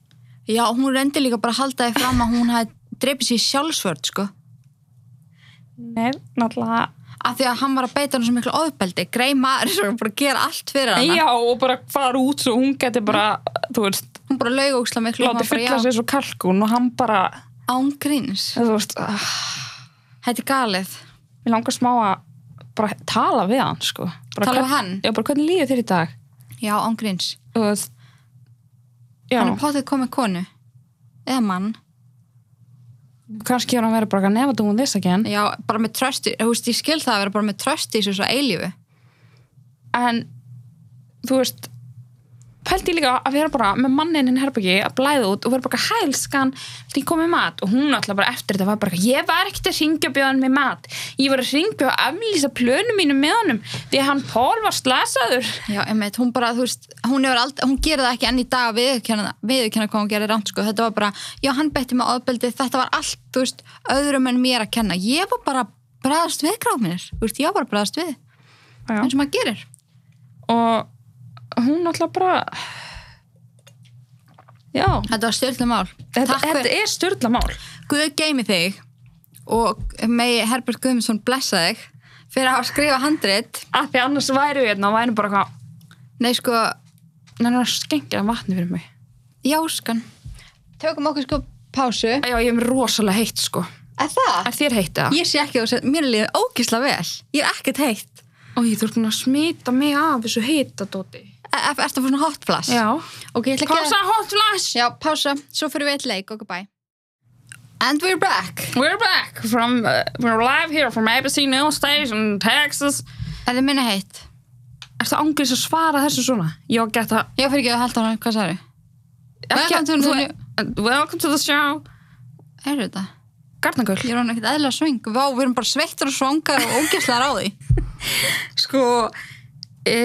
Speaker 1: já, hún reyndi líka bara að halda því fram að hún hafi dreipið sér í sjálfsvörð, sko
Speaker 2: Nei, náttúrulega
Speaker 1: af því að hann var að beita hann svo miklu ofbeldi grei maður sem bara að gera allt fyrir hann
Speaker 2: Já, og bara fara út svo hún geti bara, þú veist,
Speaker 1: hún bara laug ógsla miklu
Speaker 2: láti fylla sér svo kalkun og hann bara,
Speaker 1: ángríns,
Speaker 2: þú veist, ah,
Speaker 1: þetta er galið
Speaker 2: mér langar smá að bara tala við hann sko. bara,
Speaker 1: Tala við
Speaker 2: hvern-
Speaker 1: hann?
Speaker 2: já, bara hvernig líður þér í dag
Speaker 1: já, ángríns
Speaker 2: og, já,
Speaker 1: hann er potið komið konu eða mann,
Speaker 2: kannski hefur hann verið bara never doing this again
Speaker 1: já, bara með trösti þú veist, ég skil það að vera bara með trösti í þessu eilífu
Speaker 2: en þú veist pældi ég líka að vera bara með mannininn herbyggi að blæða út og vera bara hælskan því komið mat og hún alltaf bara eftir þetta var bara ég var ekkert að ringja og bjóða hann með mat ég var að ringja og aflýsa plönum mínum með honum því að hann Pól var slasaður
Speaker 1: Já, einmitt, hún bara, þú veist, hún, hefur ald- hún gerir það ekki enn í dag að viðurkenna viðurkenna hvað hún gerir rámt, sko, þetta var bara já, hann betti mig áðbeldi, þetta var allt, þú veist öðrum en mér að kenna, ég var bara bræðast við gráminir, þú veist, ég var bara bræðast við,
Speaker 2: Já.
Speaker 1: eins og maður gerir
Speaker 2: og hún alltaf bara já
Speaker 1: þetta var stjórnlega mál
Speaker 2: þetta,
Speaker 1: Takk
Speaker 2: þetta
Speaker 1: fyrir,
Speaker 2: er styrla mál
Speaker 1: Guð geimi þig og megi Herbert Guðmundsson blessa þig fyrir að hafa skrifa handrit
Speaker 2: af því annars væri við hérna og væri bara hvað
Speaker 1: nei, sko,
Speaker 2: hann er að skengja vatni fyrir mig
Speaker 1: jáskan tökum okkur sko pásu,
Speaker 2: já ég er með rosalega heitt sko
Speaker 1: er það?
Speaker 2: er þér heitt eða?
Speaker 1: Ég sé ekki, að þú sért- mér er liðið ógisla vel ég er ekkert heitt
Speaker 2: Og ég þurfti að smita mig af þessu hýta, Dóti.
Speaker 1: Er það fyrir svona hot flash? Ok, ég ætla ekki
Speaker 2: Pása hot flash!
Speaker 1: Já, pása. Svo fyrir við eitt leik, ok, bye. And we're back.
Speaker 2: We're back from, uh, we're live here from ABC News Station, Texas.
Speaker 1: Er þið minna heitt?
Speaker 2: Er það ángriðs að svara þessu svona? Ég var gett að...
Speaker 1: Já, fyrir ekki að halda hana, hvað sagði? Welcome to the-
Speaker 2: the... Welcome to the show.
Speaker 1: Er þetta?
Speaker 2: Garnagöll.
Speaker 1: Ég er hann ekkert eðla svöng. Vá, við erum bara sveittur og svangar og ógæslar á því.
Speaker 2: Sko, e,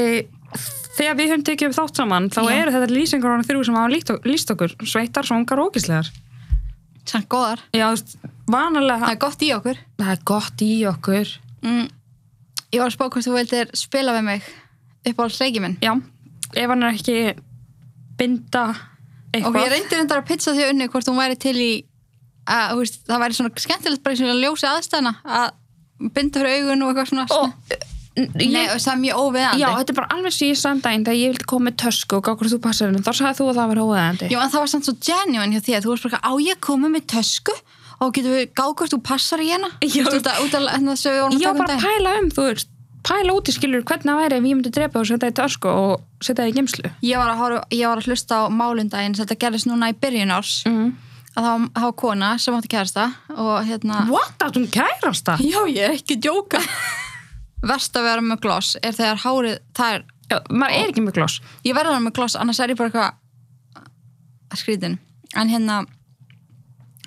Speaker 2: þegar við höfum tekið upp þátt saman, þá
Speaker 1: Já.
Speaker 2: eru þetta lýsingur hana þrjú sem hafa líkt, ok- líst okkur. Sveitar, svongar og ógislegar.
Speaker 1: Sann góðar.
Speaker 2: Já, þú veist, vanalega...
Speaker 1: Það er gott í okkur.
Speaker 2: Það er gott í okkur.
Speaker 1: Mm. Ég var að spá hvort þú vildir spila við mig upp á hleikiminn.
Speaker 2: Já, ef hann er ekki binda
Speaker 1: Og ég
Speaker 2: eitthvað.
Speaker 1: reyndi reyndar að pizza því unni hvort hún væri til í að, þú veist, það væri svona skemmtilegt bara svona ljósi aðstæðna að binda fyrir augun og eitthvað svona.
Speaker 2: og,
Speaker 1: Nei,
Speaker 2: ég,
Speaker 1: það er mjög óviðandi.
Speaker 2: já, þetta er bara alveg sem ég sagði um daginn þegar ég vildi koma með tösku og gá hvort þú passar henni þá sagði þú að það var hóðaðandi
Speaker 1: Já, en það var samt svo genuine hjá því að þú varst bara eitthvað, á ég að koma með tösku og getur við gáð hvort þú passar í hérna
Speaker 2: Já.
Speaker 1: Þú veist, út af út af þess að við vorum að
Speaker 2: ég var
Speaker 1: taka um
Speaker 2: bara að
Speaker 1: dag
Speaker 2: pæla um, þú veist pæla út í skilur hvernig það væri ef ég myndi drepa og setja það í tösku og setja það í gemslu
Speaker 1: ég var, að horfa, ég var að hlusta á málundaginn þetta gerðist núna í byrjun árs
Speaker 2: mm.
Speaker 1: að það var, það var kona sem átti kærasta og hérna
Speaker 2: What? Það hún kærast það?
Speaker 1: Já, ég er ekki djóka Verst að vera með gloss er þegar hárið það er
Speaker 2: Já, maður er ekki með gloss
Speaker 1: ég verður að vera með gloss, annars er ég bara eitthvað að skrítin en hérna,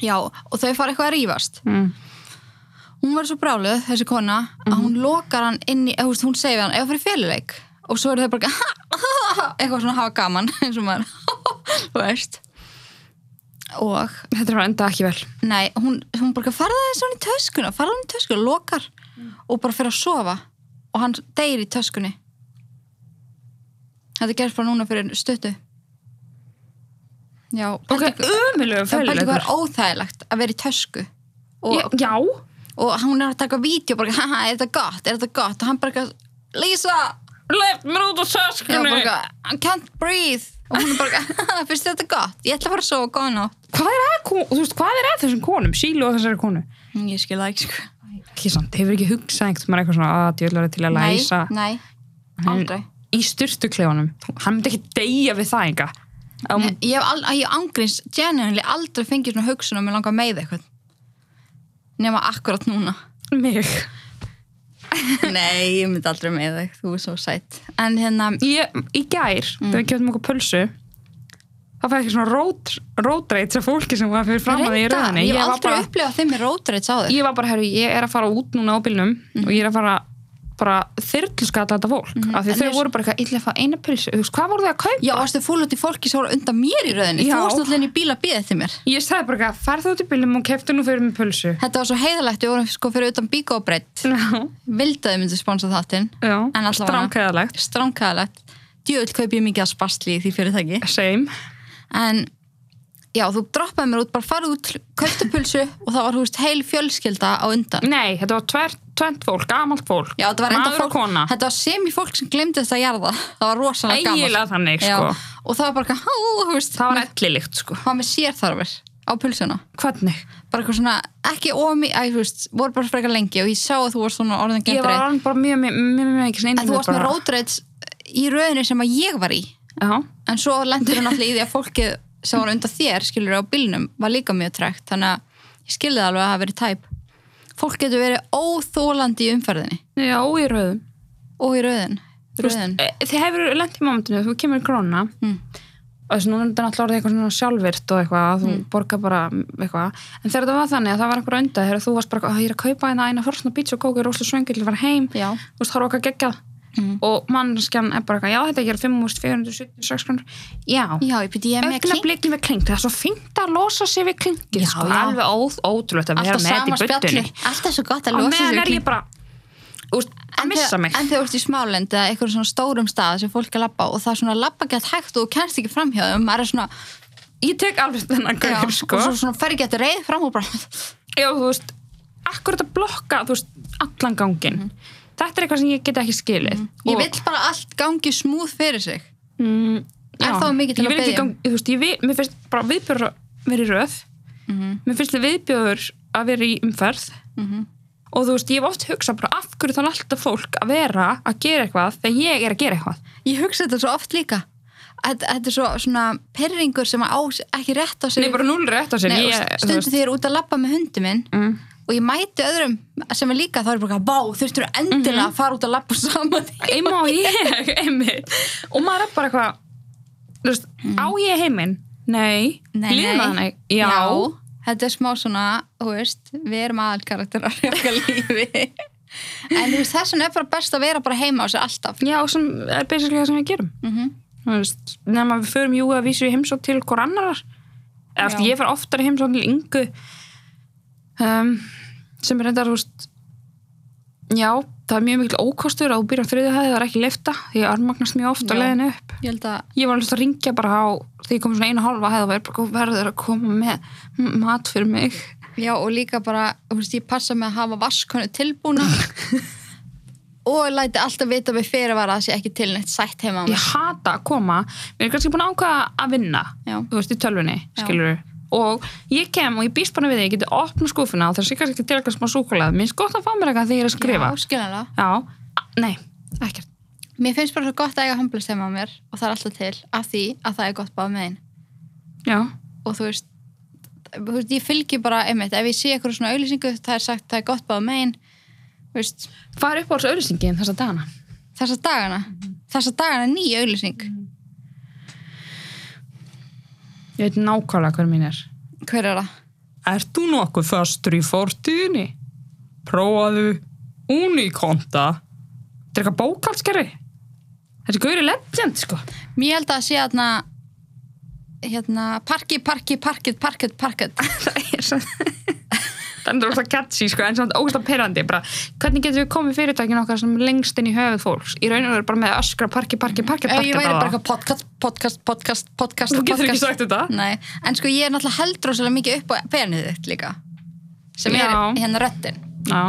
Speaker 1: já og þau fara eitthvað að rífast
Speaker 2: Mm.
Speaker 1: hún verður svo bráluð, þessi kona
Speaker 2: Mhm.
Speaker 1: að hún lokar hann inn í, eða, þú veist, hún segir við hann, eða fyrir féluleik og svo eru þau bara eitthvað eitthvað svona að hafa gaman eins og maður, þú veist og
Speaker 2: Þetta er bara enda ekki vel
Speaker 1: nei, hún, hún bara farða það svona í töskuna farða hann í töskuna, lokar og bara fyrir að sofa og hann deyr í töskunni þetta gerst bara núna fyrir stuttu já,
Speaker 2: Ok, ömulegu
Speaker 1: pældi hvað er
Speaker 2: följulegur
Speaker 1: óþægilegt að vera í tösku og,
Speaker 2: Já,
Speaker 1: og hann er að taka vídeo bara, haha, er þetta gott, er þetta gott og hann bara, eitthvað, Lisa
Speaker 2: left mér út á
Speaker 1: Já, bara,
Speaker 2: töskunni
Speaker 1: eitthvað, I can't breathe og hún er bara, haha, finnst þér þetta gott ég ætla að fara að sofa, góða nótt
Speaker 2: Hvað er að, kon- þú veist, hvað er að þessum konum? Sílu og þessari konu
Speaker 1: Mm, ég skil það ekki, sko
Speaker 2: Ekki samt, hefur ekki hugsað einhvern maður eitthvað svona að djöðlar til að læsa
Speaker 1: nei, nei,
Speaker 2: Hann-
Speaker 1: aldrei
Speaker 2: í styrtuklefanum hann myndi ekki deyja við það enga um,
Speaker 1: Nei, ég hef al, ég angriðs genuinely aldrei fengið svona hugsun og mér langar að meiða eitthvað nema akkurat núna
Speaker 2: mig
Speaker 1: nei, ég myndi aldrei meiða þig, þú er svo sætt en hérna,
Speaker 2: ég, í gær,
Speaker 1: Mm.
Speaker 2: þegar við kjöfum okkur pulsu það fæði ekki svona rót- rótreit sem fólki sem var fyrir framan því í
Speaker 1: reyndar,
Speaker 2: röðinni
Speaker 1: ég hef
Speaker 2: var
Speaker 1: aldrei
Speaker 2: bara,
Speaker 1: upplifað þeim með rótrætt sá þig
Speaker 2: ég var bara, herru, ég er að fara út núna á bílnum og ég er að fara bara þyrluskata þetta fólk af því
Speaker 1: en
Speaker 2: þau
Speaker 1: ég-
Speaker 2: voru bara eitthvað, ég ætla að fá eina pulsu Þú veist, hvað voru þau að kaupa?
Speaker 1: Já, varstu fúl út í fólki sem voru undan mér í rauðinni
Speaker 2: Já.
Speaker 1: Þú varst náttúrulega inn í bíla að býða eftir mér
Speaker 2: ég sagði bara eitthvað, farð þú út í bílnum og keftu nú fyrir mig pulsu
Speaker 1: Þetta var svo heiðalegt, við vorum sko fyrir utan bíka og breytt
Speaker 2: já,
Speaker 1: Vildaði myndi sponsa þáttinn
Speaker 2: já,
Speaker 1: En allavega.
Speaker 2: stránkæðalegt
Speaker 1: Stránkæðalegt Djöðl kaup ég mikið að spastli í því fyrirtæki
Speaker 2: same
Speaker 1: En já, þú droppaði mér út, bara farið út Kauptu pulsu og það var, þú veist, heil fjölskylda á undan
Speaker 2: Nei, þetta var tver, tvent fólk, gamalt fólk
Speaker 1: Já, þetta var enda
Speaker 2: Maður og
Speaker 1: fólk,
Speaker 2: kona
Speaker 1: þetta var semi fólk sem glemdi þetta að jarða Það var rosalega gamalt
Speaker 2: Ægilega þannig,
Speaker 1: Já,
Speaker 2: sko
Speaker 1: Og það var bara, hú, þú veist
Speaker 2: Það var ellilikt, sko
Speaker 1: Hvað með sér þarfir á pulsuna
Speaker 2: Hvernig?
Speaker 1: bara eitthvað svona, ekki ómi, að þú veist voru bara frekar lengi og ég sá að þú varst svona orðin
Speaker 2: Ég var
Speaker 1: gendri,
Speaker 2: alveg bara mjög, mjög, mjög, mjög ekki svona
Speaker 1: en þú varst með rótreits í röðinni sem að ég var í
Speaker 2: Já,
Speaker 1: en svo lendur hann allir í því að fólkið sem var undan þér, skilur á bílnum var líka mjög tregt, þannig að ég skilði alveg að það hafi verið tæp fólk getur verið óþólandi í umferðinni
Speaker 2: já, í rauðum.
Speaker 1: og í rauðin,
Speaker 2: Þú veist,
Speaker 1: rauðin.
Speaker 2: e, Þið hefur lent í momentinu, þú kemur í krónuna
Speaker 1: Mm.
Speaker 2: og þessi núna er þetta náttúrulega orðið eitthvað svona sjálfvirt og eitthvað, að þú
Speaker 1: Hmm.
Speaker 2: borgar bara mm, eitthvað, en þegar þetta var þannig að það var einhver undan þegar þú varst bara, "Ah, ég er að kaupa hérna eina horsna pizza og kók, ég er rosalega svöngil til að fara heim
Speaker 1: Já.
Speaker 2: þú veist, það er okkar geggjað
Speaker 1: Mm.
Speaker 2: og mannskjan er bara eitthvað, já þetta er ekki 5476 krónur, já
Speaker 1: já, ég byrja ég er með kling
Speaker 2: augnablikin við kling, það er svo fínt að losa sig við klingið,
Speaker 1: Já,
Speaker 2: sko,
Speaker 1: já.
Speaker 2: alveg óð, ótrúlegt að
Speaker 1: alltaf
Speaker 2: vera með
Speaker 1: sama
Speaker 2: þetta í
Speaker 1: spjalli,
Speaker 2: buddunni
Speaker 1: alltaf svo gott að
Speaker 2: og
Speaker 1: losa sig
Speaker 2: meðan
Speaker 1: við
Speaker 2: er ég
Speaker 1: kling.
Speaker 2: bara úst, að
Speaker 1: En
Speaker 2: missa
Speaker 1: þegar-
Speaker 2: mig
Speaker 1: en þegar þú ert í smálendi eða eitthvað svona stórum stað sem fólk er labba og það er svona labba gett hægt og þú kennst ekki framhjá þeim maður er svona,
Speaker 2: ég tek alveg þennan
Speaker 1: já,
Speaker 2: gaur, sko
Speaker 1: og svo svona fer ekki eftir reið fram og bara
Speaker 2: já, þú veist, akkur þetta blokka þú veist, allan gangin þetta er eitthvað sem ég get ekki skilið
Speaker 1: Mhm. ég
Speaker 2: Og-
Speaker 1: vill bara að allt gangi smúð fyrir sig
Speaker 2: mm,
Speaker 1: Er
Speaker 2: já.
Speaker 1: þá mikið til að
Speaker 2: Ég vil ekki
Speaker 1: biðja um?
Speaker 2: gang- þú veist, ég vil, mér finnst bara viðbjörður að vera í röð
Speaker 1: Mhm.
Speaker 2: mér finnst það viðbjörður að vera í umferð og þú veist, ég hef oft hugsað bara af hverju þannig alltaf fólk að vera að gera eitthvað þegar ég er að gera eitthvað
Speaker 1: ég hugsa þetta svo oft líka þetta, þetta er svo, svona perringur sem að á ekki rétt á sig
Speaker 2: Nei, bara núl rétt á sér
Speaker 1: Nei,
Speaker 2: ég,
Speaker 1: og
Speaker 2: þú
Speaker 1: stundum
Speaker 2: veist,
Speaker 1: þegar ég er út að labba með hundi minn
Speaker 2: Mm.
Speaker 1: og ég mæti öðrum sem er líka þá er ég bara, vá, þurftur endilega
Speaker 2: Mhm.
Speaker 1: að fara út að labba saman því
Speaker 2: Einma og ég, einmitt og maður er bara eitthvað þú veist, á ég heiminn? Mm. Nei, líður maður þannig? Já,
Speaker 1: þetta er smá svona, þú veist við erum aðalkarakterar í okkar lífi en þú veist, þess vegna er bara best að vera bara heima á sér alltaf
Speaker 2: já, sem er basically það sem við gerum
Speaker 1: mm
Speaker 2: þú veist, nema við förum jú að vísu í heimsók til hver annar eða þú veist,
Speaker 1: Já.
Speaker 2: ég fer oftar í heimsók til yngu um, sem er reyndar, þú veist já, það er mjög mikil ókostur að þú býr á þriðju hæði, það er ekki lifta því að armagnast mjög oft á
Speaker 1: Já.
Speaker 2: leiðinu upp
Speaker 1: ég held að
Speaker 2: ég var alveg að ringja bara á því ég kom svona einu og hálfa hæði og verður bara verður að koma með m- mat fyrir mig
Speaker 1: Já, og líka bara, þú veist, ég passa með að hafa vaskonu tilbúna og læti alltaf vita við fyrirvara að það sé ekki til neitt sætt heima á mér.
Speaker 2: ég hata að koma, mér er kannski búin að ákvaða að vinna
Speaker 1: Já.
Speaker 2: þú veist, í tölvunni,
Speaker 1: Já.
Speaker 2: skilur og ég kem og ég býst bara við því, ég geti opna skúfuna og það sé kannski til eitthvað smá súkulað mér finnst gott að fá mér eitthvað þegar ég er að skrifa
Speaker 1: Já, skiljanlega.
Speaker 2: já, A- nei, ekkert
Speaker 1: Mér finnst bara svo gott að eiga homblast heima á mér og það er alltaf til af því að það er gott bara með einn.
Speaker 2: já,
Speaker 1: Og þú veist, þú veist, ég fylgi bara, einmitt, ef ég sé eitthvað svona auðlýsingu, það er sagt það er gott bara með einn, þú veist,
Speaker 2: hvað er upp á þessu auðlýsingin þessa dagana?
Speaker 1: þessa dagana, þessa dagana er ný auðlýsing.
Speaker 2: ég veit nákvæmlega hver mín er
Speaker 1: Hver er það?
Speaker 2: Er þú nokkuð fastur í fortíðinni? Prófaðu Unikonta Þetta er eitthvað bókalskeri Þessi gaur er legend sko
Speaker 1: Mér held að sé hérna, hérna, parki, parki, parkið, parkið, parkið.
Speaker 2: Það er svo Þannig er það catchy sko en samt ógust að perrandi bara, hvernig getum við komið fyrirtækinu okkar sem er lengst inn í höfuð fólks í raun og veru bara með að öskra parki, parki, parki,
Speaker 1: Ef
Speaker 2: parki
Speaker 1: ég væri bara eitthvað podcast, podcast, podcast, podcast
Speaker 2: Þú getur
Speaker 1: podcast.
Speaker 2: ekki sagt þetta.
Speaker 1: Nei, en sko ég er náttúrulega heldur óslega mikið upp á penið þitt líka sem er
Speaker 2: Já.
Speaker 1: hérna röttin
Speaker 2: Já,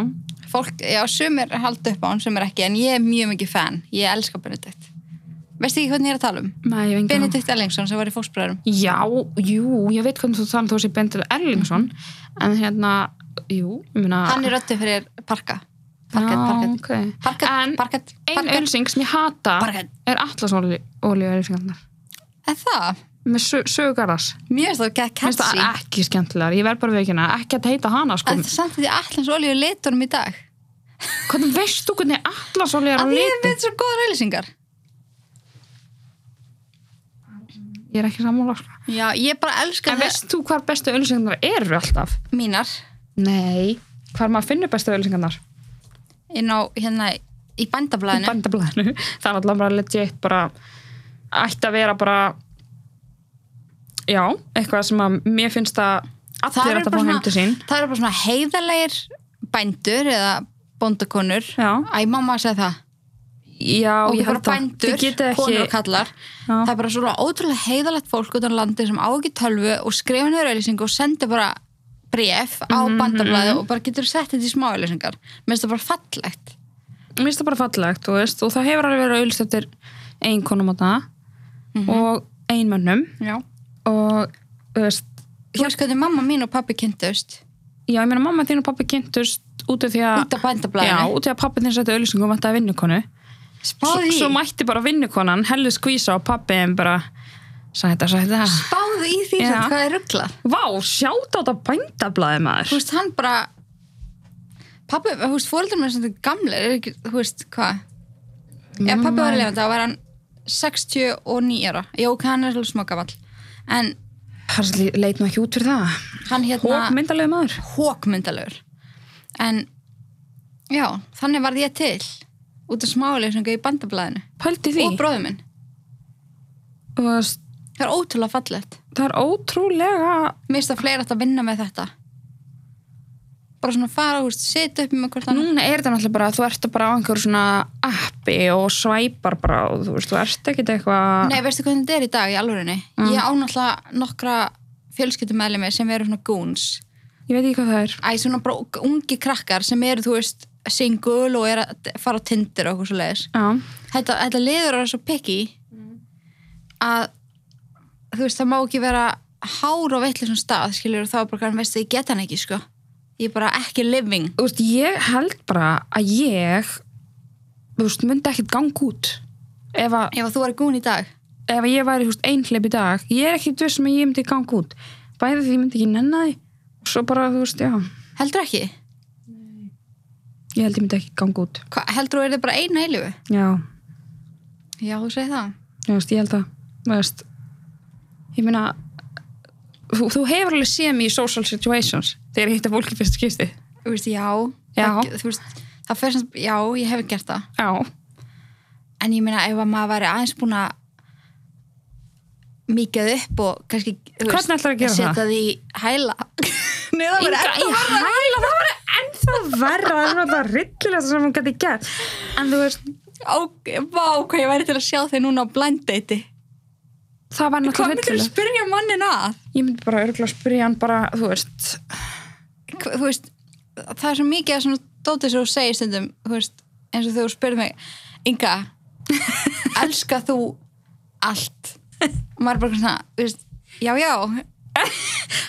Speaker 1: Fólk, já, sumir halda upp á hann, sumir ekki en ég er mjög mikið fan, ég elska Benedikt Veistu ekki hvernig ég er að tala um?
Speaker 2: Nei, ég hef engan-
Speaker 1: Benedikt Ellingsson sem var í fósbræðurum
Speaker 2: Já, jú, ég veit hvernig þú talar þú sé Benedikt Erlingsson en hérna, jú, ég meina
Speaker 1: Hann er röttin fyrir parka Parkett,
Speaker 2: Já,
Speaker 1: parkett,
Speaker 2: ókei. En
Speaker 1: parkett, parkett,
Speaker 2: Einn
Speaker 1: parkett
Speaker 2: ölsing sem ég hata
Speaker 1: Parkett.
Speaker 2: er Atlas olíu ölsingarnar
Speaker 1: Er það?
Speaker 2: með sö- sögu Garðars.
Speaker 1: Mér finnst það ekki
Speaker 2: Mér finnst
Speaker 1: catchy
Speaker 2: það ekki skemmtilegar, ég verð bara við ekki hana ekki að heita hana sko
Speaker 1: En það samt því allans olíu litunum í dag
Speaker 2: hvernig veist þú hvernig Atlas olíu er á
Speaker 1: Að ég
Speaker 2: litin?
Speaker 1: veit svo góðar auðlýsingar
Speaker 2: Ég er ekki sammála sko
Speaker 1: Já, ég bara elska
Speaker 2: En veist þú hvar bestu ölsingarnar eru alltaf?
Speaker 1: mínar
Speaker 2: Nei Hvar maður finnur bestu ölsingarnar?
Speaker 1: inn á hérna í
Speaker 2: Í
Speaker 1: bandablaðinu
Speaker 2: bandablaðinu Það er alltaf bara legit bara ætti að vera bara já, eitthvað sem að mér finnst að allir ætti að fá heim til sín
Speaker 1: það eru bara svona heiðarlegir bændur eða bondakonur
Speaker 2: Já.
Speaker 1: Æ, mamma sagði það
Speaker 2: Já,
Speaker 1: og
Speaker 2: ég
Speaker 1: bara
Speaker 2: held það.
Speaker 1: bændur,
Speaker 2: Þið getið
Speaker 1: konur
Speaker 2: ekki
Speaker 1: og kallar
Speaker 2: Já.
Speaker 1: það er bara svona ótrúlega heiðalegt fólk utan landi sem á ekki tölvu og skrifa niður auðlýsingu og sendi bara bref á
Speaker 2: Mhm,
Speaker 1: bandablaði og bara getur sett þetta í smá auðlýsingar mér finnst það bara fallegt
Speaker 2: mér finnst það bara fallegt þú veist, og það hefur alveg verið auðvist eftir ein
Speaker 1: Mhm.
Speaker 2: konum á það og ein mönnum
Speaker 1: Já.
Speaker 2: og þú veist,
Speaker 1: þú veist hvernig mamma mín og pappi kynntust
Speaker 2: Já, ég meina mamma þín og pappi kynntust út af því að
Speaker 1: út af bændablaðinu
Speaker 2: Já, út af að pappi þín sætti auðlýsingum um að þetta er vinnukonu
Speaker 1: Spáði
Speaker 2: Svo
Speaker 1: í,
Speaker 2: mætti bara vinnukonan, hellu skvísa og pappi þeim bara Sætta, sætta
Speaker 1: spáði í því
Speaker 2: Já.
Speaker 1: sem hvað er rugglað
Speaker 2: Vá, sjátt á þetta bændablaði
Speaker 1: þú
Speaker 2: maður
Speaker 1: veist, hann bara pappi, þú veist, fóreldur mér sem þetta gamlega er ekki, þú veist, hvað ef pappi
Speaker 2: Mm.
Speaker 1: var lefandi, þá var hann 69 ára, já, ok, hann er alveg smokkavall, en
Speaker 2: Harsli leit nú ekki út fyrir það
Speaker 1: hann
Speaker 2: Hók
Speaker 1: hérna
Speaker 2: myndalegi maður
Speaker 1: hókmyndalur en já, þannig varð ég til út af smáleisunga í bandablaðinu
Speaker 2: Pældi því
Speaker 1: og bróðum minn,
Speaker 2: Þú veist,
Speaker 1: það er ótrúlega fallegt
Speaker 2: Það er ótrúlega
Speaker 1: mér finnst að fleira ættu að vinna með þetta bara svona fara, þú veist, setja upp með hvort hann
Speaker 2: Núna er þetta náttúrulega bara að þú ert bara á einhverjum svona appi og svæpar bara og þú veist, þú ert ekkert eitthvað
Speaker 1: Nei, veistu hvernig þetta er í dag í alvörinni? Ég á náttúrulega nokkra fjölskyldumæðlimi sem eru svona goons.
Speaker 2: Ég veit ekki hvað það er
Speaker 1: Æ, svona bara ung- ungi krakkar sem eru, þú veist, single og eru að fara á Tinder og okkur svo leiðis.
Speaker 2: Já,
Speaker 1: Þetta, þetta liður er svo picky að, þú veist, það má ekki vera hár og veitlega svona stað, skilur, þá er bara hann veist að ég get hann ekki, sko. Ég er bara ekki living.
Speaker 2: þú veist, ég held bara að ég þú veist, myndi ekkert gang út ef, að,
Speaker 1: Ef að þú er goon í dag.
Speaker 2: ef að ég væri þú veist, einhleip í dag ég er ekkert vissum að ég myndi gang út bæði því ég myndi ekki nenni því og svo bara, þú veist, já,
Speaker 1: Heldur ekki?
Speaker 2: ég held ég myndi ekki gang út
Speaker 1: Hva, heldur þú er þetta bara eina eilifu?
Speaker 2: Já,
Speaker 1: Já, þú segir það.
Speaker 2: þú veist, ég held að þú veist, ég meina þú, þú hefur alveg séð mér í social situations þegar ég hitta fólki fyrst skipti
Speaker 1: þú veist, já,
Speaker 2: Já.
Speaker 1: Það, þú veist, það fer sem, já, ég hef gert það
Speaker 2: Já,
Speaker 1: en ég meina ef að maður væri aðeins búin að mikið upp og kannski þú
Speaker 2: Hvernig ætlarðu að gera
Speaker 1: setja
Speaker 2: það?
Speaker 1: því hæla Nei, það væri
Speaker 2: Inga,
Speaker 1: ennþá
Speaker 2: í
Speaker 1: verra.
Speaker 2: hæla, það var ennþá verra það var það rillilegast sem hún gæti gert en þú veist,
Speaker 1: Ó, vá, hvað ég væri til að sjá þau núna á blind date
Speaker 2: það var
Speaker 1: hvað
Speaker 2: náttúrulega
Speaker 1: myndir þú
Speaker 2: rillilegt
Speaker 1: spyrja mannin að?
Speaker 2: ég myndi bara örgulega að spyrja hann bara, þú veist
Speaker 1: Hva- þú veist, það er svo mikið að svona dótið sem þú segir stundum þú veist, eins og þegar þú spyrir mig Inga, elska þú allt og maður er bara svona, þú veist, já, já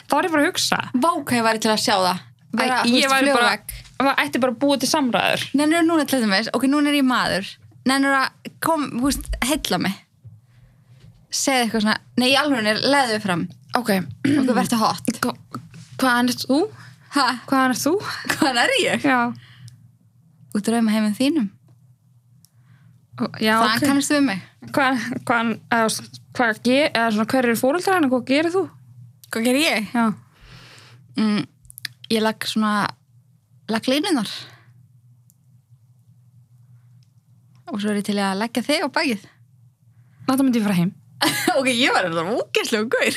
Speaker 2: þá var ég bara að hugsa
Speaker 1: Vá, hvað ég væri til að sjá það Bara,
Speaker 2: Æ,
Speaker 1: þú
Speaker 2: ég
Speaker 1: veist,
Speaker 2: væri bara,
Speaker 1: flugvegg.
Speaker 2: maður ætti bara að búa til samræður
Speaker 1: Nennir núna til þess, ok, núna er ég maður Nennir að kom, þú veist, heilla mig Segð eitthvað svona Nei, í alveg er leðu fram
Speaker 2: ok,
Speaker 1: Ok, verður hot
Speaker 2: hvaðan ert þú?
Speaker 1: Ha,
Speaker 2: hvaðan ert þú?
Speaker 1: hvaðan er ég?
Speaker 2: já,
Speaker 1: Út rauma heimum þínum
Speaker 2: já
Speaker 1: Það
Speaker 2: ok
Speaker 1: kannastu við mig
Speaker 2: hvaðan, hvaðan, eða svona, hvað ger, eða svona hver eru fóreldrar hann og hvað gerir þú?
Speaker 1: Hvað ger ég?
Speaker 2: já,
Speaker 1: Mm, ég lag svona Lag línunar Og svo er ég til í að leggja þig á bakið
Speaker 2: þetta myndi ég fara heim
Speaker 1: Ok, ég var þetta úkesslega gaur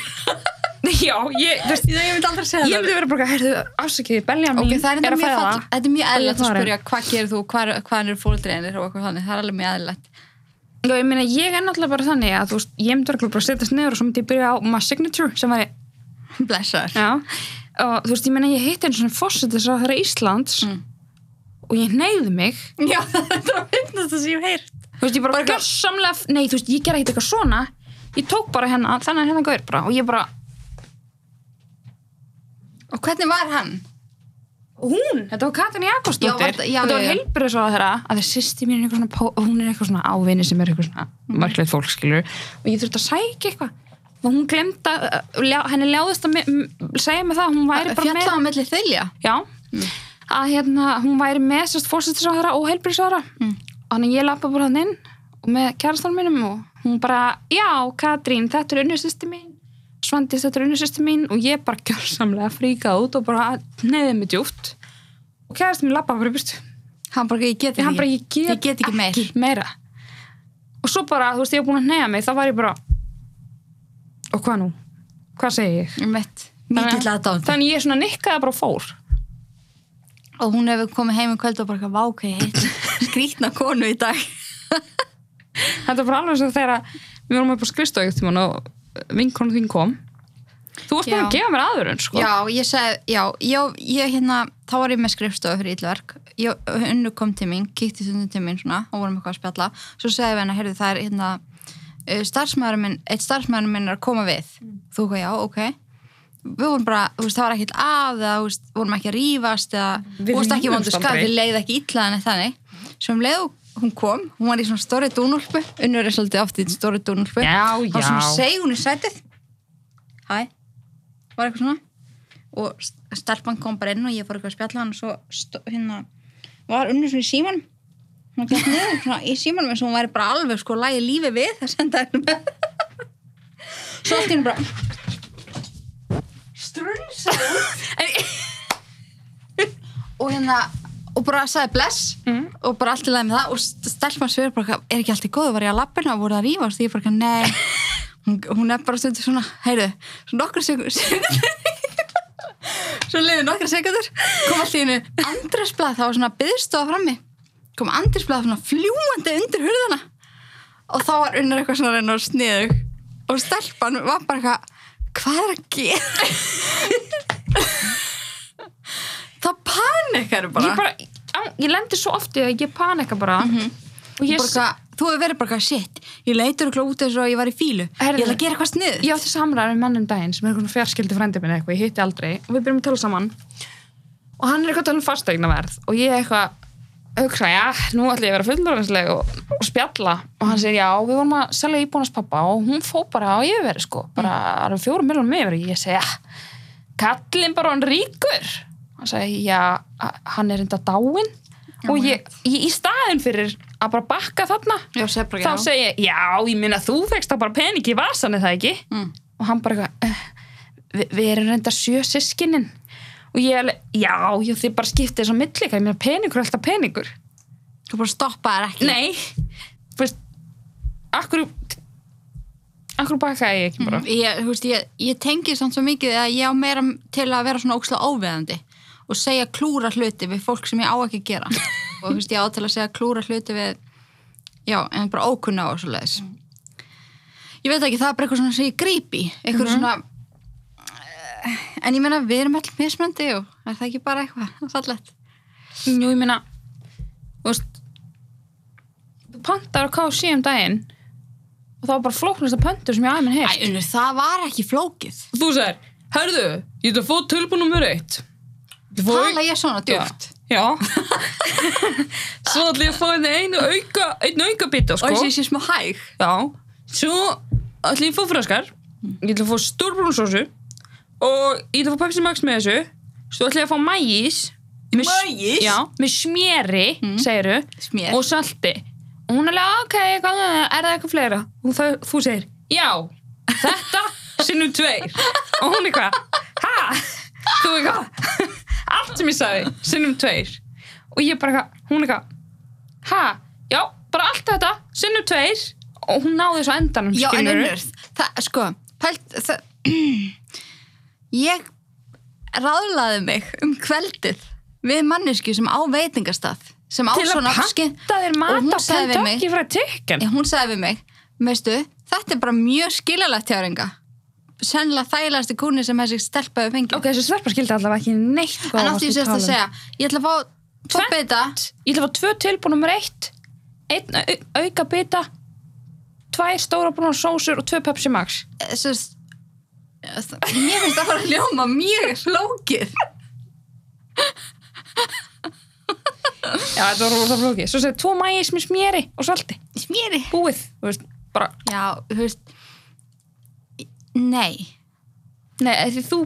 Speaker 2: já, ég, þú veist,
Speaker 1: Ég myndi aldrei segja
Speaker 2: ég myndi vera bara, herðu, afsakið belja mín
Speaker 1: Ok, það er,
Speaker 2: að
Speaker 1: er mjög
Speaker 2: fæða.
Speaker 1: fall, þetta er mjög eðlægt að
Speaker 2: farin.
Speaker 1: spyrja hvað gerir þú, hvað, hvaðan eru fóldreinir og eitthvað þannig, það er alveg mjög eðlægt.
Speaker 2: Já, ég meina, ég er náttúrulega bara þannig að þú veist, ég myndi örugglega bara að setjast neður og svo myndi ég byrja á my signature sem var ég,
Speaker 1: Blessar.
Speaker 2: já, og þú veist, ég meina, ég hitti einu svona fósitis á þeirra Íslands og ég neyði mig,
Speaker 1: Já, þetta var finnast það sem ég hef heyrt.
Speaker 2: þú veist, ég bara gjörsamlega, nei, þú veist, ég gerði ekkert eitthvað svona, ég tók bara hennar, þannig hennar gaur bara og ég bara,
Speaker 1: Og hvernig var hann?
Speaker 2: hún, þetta var Katrin
Speaker 1: Já,
Speaker 2: Jakobsdóttir
Speaker 1: var þetta- já,
Speaker 2: þetta
Speaker 1: já,
Speaker 2: var
Speaker 1: já.
Speaker 2: heilbyrðis á þeirra að þeir sýsti mín er eitthvað svona, pó- hún er eitthvað svona ávinni sem er eitthvað svona margilegt fólk skilur og ég þurfti að sækja eitthvað og hún glemta, henni ljáðist að me- m- segja mig það, að hún væri bara með
Speaker 1: Fjallað á milli þylja.
Speaker 2: já, að hérna hún væri með sérst fórsetisráðara og heilbríðsráðara mm. þannig að ég lappa bara hann inn og með kærastan mínum og hún bara, já Katrín, þetta er unnusýsti mín Svandís, þetta er unnusýsti mín og ég bara gjörsamlega fríkað út og bara neyðið mig djúft og kærastan mín lappa bara í burtu
Speaker 1: Hann bara, ég get
Speaker 2: hann bara, ég get,
Speaker 1: ég get ekki meir.
Speaker 2: meira og svo bara, þú veist, ég var búin að neyja mig þá var ég bara og hvað nú? Hvað segi ég?
Speaker 1: Mitt, mikill aðdánd.
Speaker 2: Þannig ég svona nikkaði bara og fór
Speaker 1: Og hún hefur komið heim í kvöld og bara, vá, hvað ég heit skrítna konu í dag.
Speaker 2: Þetta var alveg svo þegar að við vorum upp á skristu ekkert tíma og vinkonu þín kom. Þú varst bara
Speaker 1: Já.
Speaker 2: að gefa mér aðurinn, sko.
Speaker 1: Já, ég sagði, já, ég, ég hérna, þá var ég með skrifstofu fyrir íllverk, unnu kom til mín, kíkti stundum til mín svona og vorum eitthvað að spjalla, svo sagði við henni, heyrðu það er eh, Mm. hérna, starfsmæður minn, eitt starfsmæður minn er að koma við, þú hvað já, ok, við vorum bara, þú veist, það var ekkert af eða, þú veist, vorum ekki að rífast eða,
Speaker 2: Við
Speaker 1: þú veist, ekki
Speaker 2: rífumst
Speaker 1: vondu skap,
Speaker 2: aldrei.
Speaker 1: við leið ekki illa en þannig sem leið og hún kom, hún var í svona stóri dúnúlpu unnur er svolítið oft í stóri dúnúlpu
Speaker 2: Já,
Speaker 1: þá
Speaker 2: já.
Speaker 1: svona seg hún í sætið hæ, var eitthvað svona og st- stelpan kom bara inn og ég fór eitthvað að spjalla hann og svo stó- hérna var unnur svona í síman hún gætt niður svona í símanum eins og hún væri bara alveg sko lægi lífi við að senda henni með svo allt í henni bara strunsa og hérna og bara sagði bless og bara allt í lagi með það og st- stelpan sver bara eitthvað, er ekki allt í góðu, var ég að lappina og voru það að rífast og ég bara eitthvað, nei hún, hún er bara stundur svona, heyrðu svona nokkra sekundur svo liður nokkra sekundur kom allt í hennu andresblað það var svona byðstofa frammi kom andresblað svona fljúandi undir hurðana og þá var unnur eitthvað svona að reyna og sniðug og stelpan var bara eitthvað hvað er að gera það panikar bara Mhm.
Speaker 2: Ég bara, á- ég lendir svo oft í að ég panika bara og ég,
Speaker 1: Bara eitthvað, þú hefur verið bara eitthvað shit ég leitur okkur út eins og ég var í fílu
Speaker 2: Herðu.
Speaker 1: ég ætla að gera eitthvað snið
Speaker 2: ég átti samræður með mann um daginn sem er eitthvað fjarskildi frændi minn eitthvað, ég hitti aldrei og við byrjum að tala saman og hann er eitthvað að tala um fastegnaverð og ég eitthvað hugsa, já, nú ætla ég að vera fullorðinsleg og, og spjalla og hann segir, já, við vorum að selja íbúinast pappa og hún fó bara á yfirveri sko bara mm. fjórum miljonum yfirveri, ég segi, já kallinn bara hann ríkur hann segi, já, a- hann er enda dáinn og ég, ég í staðin fyrir að bara bakka þarna
Speaker 1: Já, seg bara,
Speaker 2: þá
Speaker 1: já.
Speaker 2: segi ég, já, ég minna þú fegst þá bara pening í vasan, er það ekki?
Speaker 1: Mm.
Speaker 2: Og hann bara eitthvað, "Eh, vi, við erum reynda sjö sískinin. Og ég alveg, já, já, þið bara skiptið þess á milli, hvað ég minna peningur er alltaf peningur.
Speaker 1: þú bara stoppaðir ekki
Speaker 2: Nei, þú veist, akkur, akkur bakaði ég ekki bara.
Speaker 1: ég, þú veist, ég, ég tengi samt svo mikið að ég á meira til að vera svona ókslega óveðandi og segja klúra hluti við fólk sem ég á ekki að gera og þú veist, ég á til að segja klúra hluti við já, en bara ókunna og svo leiðis ég veit ekki, það er bara eitthvað svona sem ég grípi eitthvað
Speaker 2: Mhm.
Speaker 1: svona eh, en ég meina, við erum allir mismöndi og er það ekki bara eitthvað fallegt
Speaker 2: Mm, Jú, ég minna, þú veist, þú pantar á KFC um daginn og það var bara flóknasta pöntur sem ég aðeins minn heilt.
Speaker 1: Æ, það var ekki flókið
Speaker 2: Þú segir, herðu, ég ætla að fá tölpunum mér eitt.
Speaker 1: tala ég svona djúft
Speaker 2: Já. Svo ætla ég að fá henni einu auka, einu auka bita,
Speaker 1: og
Speaker 2: sko.
Speaker 1: þess að ég sé smá hæg
Speaker 2: Já. Svo ætla ég að fá fraskar. Ég ætla að fá stórbrúnsósu. Og ég ætla að fá Pepsi Max með þessu. Svo ætla ég að fá mægís.
Speaker 1: Maís?
Speaker 2: Já, með smjeri, mm. segiru.
Speaker 1: Smjör.
Speaker 2: Og salti. Og hún er alveg, ok, hvað er það? Er það eitthvað fleira? Og þau, þú segir, já, þetta sinnum tveir. Og hún er hvað? Hæ? Þú er hvað? Allt sem ég sagði, sinnum tveir. Og ég bara hvað, hún er hvað? Hæ? Já, bara allt þetta, sinnum tveir. Og hún náði þessu á endanum,
Speaker 1: Já, en
Speaker 2: skilurðu.
Speaker 1: unnur, það, sko, pælt, það, ég ráðlaði mig um kveldið við manneski sem á veitingastað, sem á
Speaker 2: Til að
Speaker 1: svona
Speaker 2: panta þér
Speaker 1: og hún
Speaker 2: mat og
Speaker 1: sagði við
Speaker 2: panta
Speaker 1: mig,
Speaker 2: ekki frá tikkun.
Speaker 1: Já, hún sagði við mig, veistu, þetta er bara mjög skiljalegt hjá reynga. Sennilega þægilegasti kúni sem þessi stelpa hefur fengið.
Speaker 2: Ok, þessi sverpa skildi allavega ekki neitt hvað
Speaker 1: en
Speaker 2: varst
Speaker 1: átti ég sérst að segja, ég ætla að fá tvo
Speaker 2: Tvennt.
Speaker 1: bita,
Speaker 2: um. ég ætla að fá tvö tilbúið nummer eitt einn au- auka bita tvær stóra brúnar sósur og tvö Pepsi Max
Speaker 1: eh, sérst, eh, mér finnst það bara að ljóma mjög flókið.
Speaker 2: já þetta var rosa flóki svo segir tvo mægis með smjöri og salti
Speaker 1: Smýri.
Speaker 2: búið þú veist bara
Speaker 1: Já, þú veist Nei
Speaker 2: nei af því þú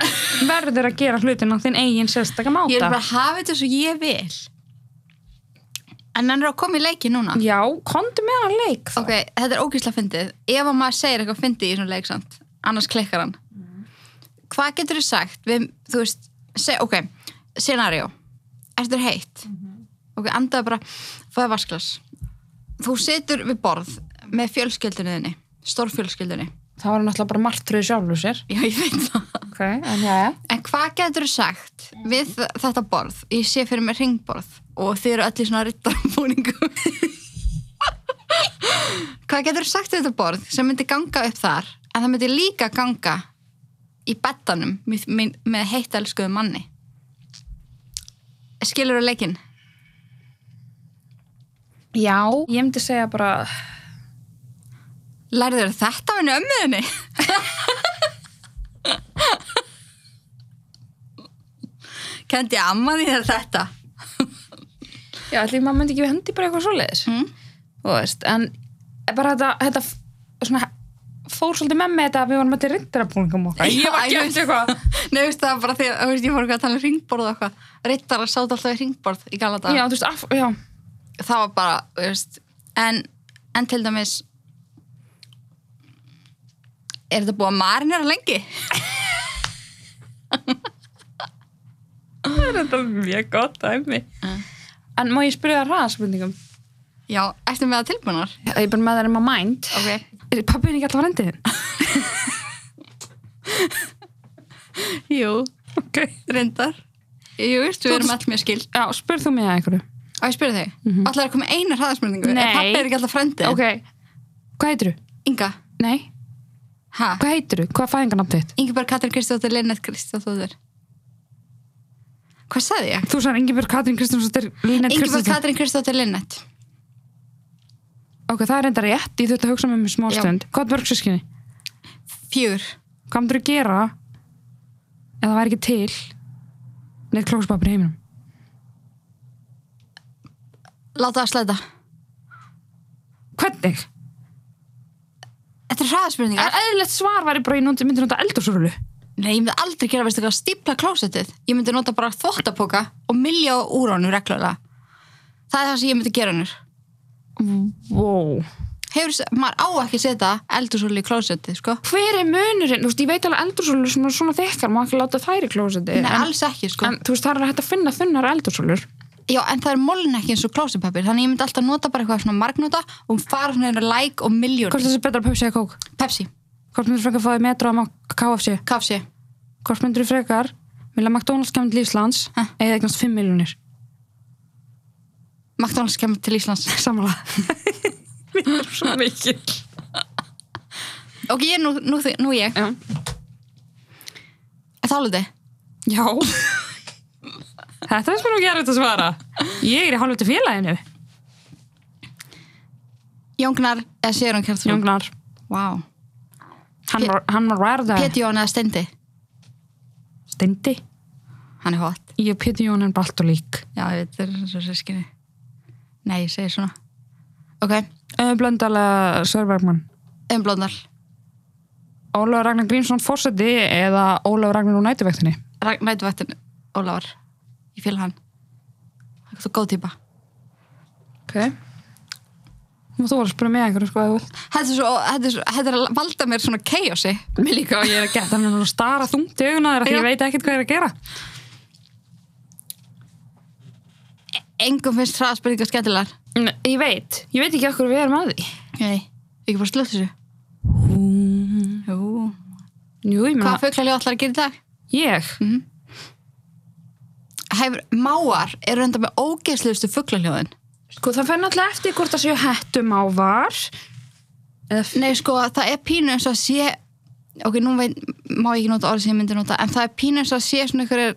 Speaker 2: verður að gera hlutin á þinn eigin sérstaka máta
Speaker 1: Ég er bara að hafa þetta svo ég vil En hann er að koma í leiki núna
Speaker 2: já komdu með hann leik þá.
Speaker 1: Ok, þetta er ógísla fyndið Ef að maður segir eitthvað fyndið í svona leik samt Annars klikkar hann Hvað getur þú sagt við, Þú veist, seg, ok, scenario Ertu þér heitt Ok, andaðu bara, fæða vasklas Þú situr við borð Með fjölskyldunni þinni Stórfjölskyldunni
Speaker 2: það var náttúrulega bara martröðu sjálfur sér
Speaker 1: Já, ég veit það
Speaker 2: ok en já já
Speaker 1: En hvað getur þú sagt við þetta borð? Ég sé fyrir mér ringborð og þið eru öll í svona rittarabúningum. hvað getur þú sagt við þetta borð sem myndi ganga upp þar en það myndi líka ganga í bettanum með, með, með heittalskuðu manni? Skilur þú leikinn?
Speaker 2: já ég myndi segja bara
Speaker 1: Lærður þetta minni ömmuðinni? kendi amma þín er þetta
Speaker 2: Já, allir maður myndi ekki við hendi bara eitthvað svoleiðis
Speaker 1: Mm.
Speaker 2: Þú veist, en bara þetta, þetta f- svona, fór svolítið með mig þetta að við varum allir rindarabúningum okkar Ég
Speaker 1: Já,
Speaker 2: var ekki eftir eitthvað
Speaker 1: Nei, veist, það var bara því að þú veist, ég fór eitthvað að tala um ringborð og eitthvað. Rittarar sátt alltaf í ringborð í gala dag.
Speaker 2: Já, þú veist, af, já,
Speaker 1: Það var bara, þú veist, en, en til dæmis, er þetta búið að marinera lengi?
Speaker 2: það er þetta mjög gott dæmi En má ég spyrja það ræðaspurningum?
Speaker 1: Já, eftir með það tilbúinar.
Speaker 2: Ég er bara með það um að mind
Speaker 1: Ok.
Speaker 2: Er pappiðin ekki alltaf rendið þinn?
Speaker 1: Jú,
Speaker 2: Ok
Speaker 1: reyndar. Jú, veist, við erum allt mjög skild.
Speaker 2: Já, spyr þú mig að einhverju
Speaker 1: Á, ég spyrir þig. Mm -hmm. Allar er komið einu hraðasmyndingu.
Speaker 2: Mhm. Nei.
Speaker 1: En pappi er ekki alltaf frendið.
Speaker 2: Ok, hvað heitir þú?
Speaker 1: Inga.
Speaker 2: Nei,
Speaker 1: Hæ?
Speaker 2: hvað heitir þú? Hvað fæðingarnafn þitt?
Speaker 1: Ingeborg Katrin Kristjáðsdóttir, Linnett Kristjáðsdóttir. Hvað sagði ég?
Speaker 2: Þú sagði Ingibjörg Katrín Kristjánsdóttir Línet
Speaker 1: Ingeborg
Speaker 2: Kristjánsdóttir
Speaker 1: Katrin Kristjáðsdóttir, Linnett.
Speaker 2: Ok, það er enda rétt, ég þurfti að hugsa með mér smá
Speaker 1: Já.
Speaker 2: stund Hvað mörg sískinni?
Speaker 1: Fjör.
Speaker 2: Hvað myndir þú gera ef það væri ekki til neitt klókspapir í heiminum?
Speaker 1: Láta það slæta.
Speaker 2: Hvernig?
Speaker 1: Þetta er hraðaspurningar.
Speaker 2: Er eðlilegt svar væri bara ég noti- myndi nota eldursurulu
Speaker 1: Nei, ég myndi aldrei gera, veistu hvað, stípla klósettið. Ég myndi nota bara þvottapoka og milja úr honum reglulega. Það er það sem ég myndi gera hennur.
Speaker 2: Wow
Speaker 1: Hefur, maður á ekki að setja eldursóli í klósettið, sko.
Speaker 2: Hver er munurinn? Þú veist, ég veit alveg eldursurulu sem er svona þekkar, má ekki láta þær í klósiti
Speaker 1: Nei,
Speaker 2: en,
Speaker 1: alls ekki, sko.
Speaker 2: en þú veist, það er hægt að finna þunnar eldursulur
Speaker 1: Já, en það er molin ekki eins og klósettpapir, þannig ég myndi alltaf nota bara eitthvað svona margnota og fara svona einu like og miljón.
Speaker 2: Hvort þessi betra Pepsi eða kók?
Speaker 1: Pepsi,
Speaker 2: Hvort myndir frekar fáið metro að má KFC?
Speaker 1: kafsi,
Speaker 2: Hvort myndir frekar vilja McDonalds kemur til Íslands
Speaker 1: Ha?
Speaker 2: eða eignast 5 miljonir?
Speaker 1: McDonalds kemur til Íslands.
Speaker 2: Samanlega Við erum svo mikil
Speaker 1: Ok, ég er nú, nú, þi- nú ég.
Speaker 2: Já,
Speaker 1: Þá liti.
Speaker 2: Já. Þetta er spennum gerðið að svara Ég er í hálfviti félaginu
Speaker 1: Jóngnar eða Sérón Kjartrún.
Speaker 2: Jóngnar,
Speaker 1: Vá.
Speaker 2: hann var, hann var værða
Speaker 1: Pétur Jón eða Steindi.
Speaker 2: Stendi
Speaker 1: Hann er hot.
Speaker 2: Ég og Pétur Jón er bara allt og lík
Speaker 1: Já, ég veit, það er svo sískinni. Nei, ég segi svona. Ok,
Speaker 2: Öðum blöndalega Sörbergmann
Speaker 1: um blóðnar.
Speaker 2: Ólafur Ragnar Grímsson fórseti eða Ólafur Ragnar úr nætuvektinni
Speaker 1: Nætuvættin Ólafur. Ég fíla hann. Það er svo góð típa.
Speaker 2: Ok Má þú var að spyrja mig einhverju sko eða þú vilt.
Speaker 1: Þetta er svo, þetta er, svo, þetta er að valda mér svona chaosi. Mér líka og
Speaker 2: Ég er að geta hann að stara þungt í augun á þér af því ég
Speaker 1: Já.
Speaker 2: veit ekkert hvað ég er að gera
Speaker 1: Engum finnst hraðspurningar skemmtilegar.
Speaker 2: Nei, Ég veit, ég veit ekki okkur við erum að því
Speaker 1: Nei. Ekki bara slögt þessu. Jú.
Speaker 2: Jú, ég meina Mhm.
Speaker 1: Hvað fuglaljóð ætlar að gera í dag?
Speaker 2: Ég?
Speaker 1: Hefur, máar eru enda með ógeðsluðustu fuglaljóðin.
Speaker 2: Sko það fer náttúrulega eftir hvort það séu hættum á var eða
Speaker 1: Nei, sko, það er pínu eins og að sé ok, nú veit, má ég ekki nota orðið sem ég myndi nota en það er pínu eins og að sé svona einhverjir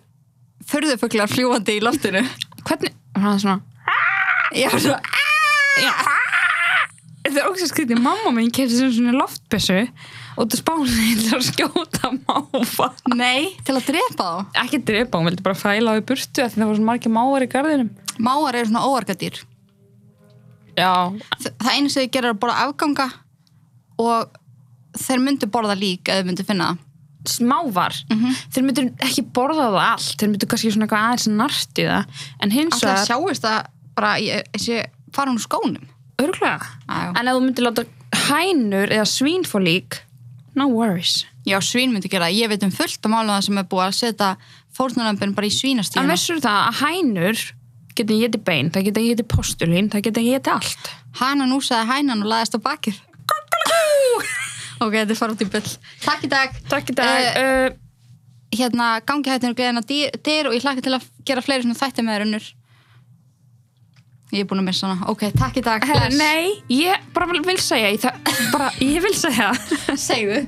Speaker 1: förðufuglar fljúandi í loftinu
Speaker 2: hvernig hann er svona
Speaker 1: Já, svo,
Speaker 2: já. Þetta er ógst að skrítið mamma mín kefti sem svona loftbessu út af spáni til að skjóta máfa
Speaker 1: nei, til að drepa þá
Speaker 2: ekki drepa, hún vildi bara fæla á í burtu af því það voru svo margir mávar í garðinum
Speaker 1: Máar eru svona óarkadýr
Speaker 2: Já,
Speaker 1: Þa- Það einu sem þau gerir er að borða afganga og þeir myndu borða lík eða þau myndu finna það
Speaker 2: smávar þeir myndur ekki borða það allt þeir myndur kannski svona eitthvað aðeins nart í það en hins
Speaker 1: Alltaf það
Speaker 2: vegar,
Speaker 1: sjáist það bara í þessi fara hún úr skónum
Speaker 2: örgulega
Speaker 1: Á, já.
Speaker 2: en ef þú myndir láta hænur eða svín fór lík no worries
Speaker 1: Já, svín myndu gera það. Ég veit um fullt á málum það sem er búið að setja fórnulambin bara í
Speaker 2: En
Speaker 1: svínastíðina
Speaker 2: vissur það að hænur geta getið bein, það geta getið postulín, það geta getið allt.
Speaker 1: Hanna núsaði hænan og laðist á bakið Ok, þetta er fara út í byll Takk í dag Eh,
Speaker 2: Takk í dag. Uh,
Speaker 1: Hérna, gangi hættinu gleðina dyr, dyr og ég hlakka til að gera fleiri svona þætti með þér unnur Ég er búin að missa hana Ok, takk í dag
Speaker 2: Herra,
Speaker 1: bless.
Speaker 2: nei, ég bara vil- vil segja, ég, það- bara, ég vil segja
Speaker 1: Segðu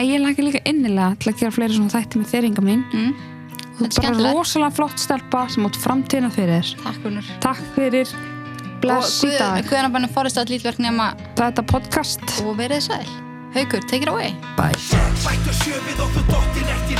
Speaker 2: að ég lakar líka innilega til að gera fleiri svona þætti með þér, Inga mín.
Speaker 1: mm,
Speaker 2: Þú
Speaker 1: Þetta er
Speaker 2: ert bara
Speaker 1: skemmtilegt
Speaker 2: rosalega flott stelpa sem átt framtíðina fyrir. þér.
Speaker 1: Takk unnur
Speaker 2: Takk fyrir, bless í dag.
Speaker 1: Guðan að banna forrist að lítlverk nema
Speaker 2: Þetta er podcast.
Speaker 1: og verið sæl Haukur, take it away
Speaker 5: Bæ.
Speaker 6: Bæta sjö við okkur dottir ekki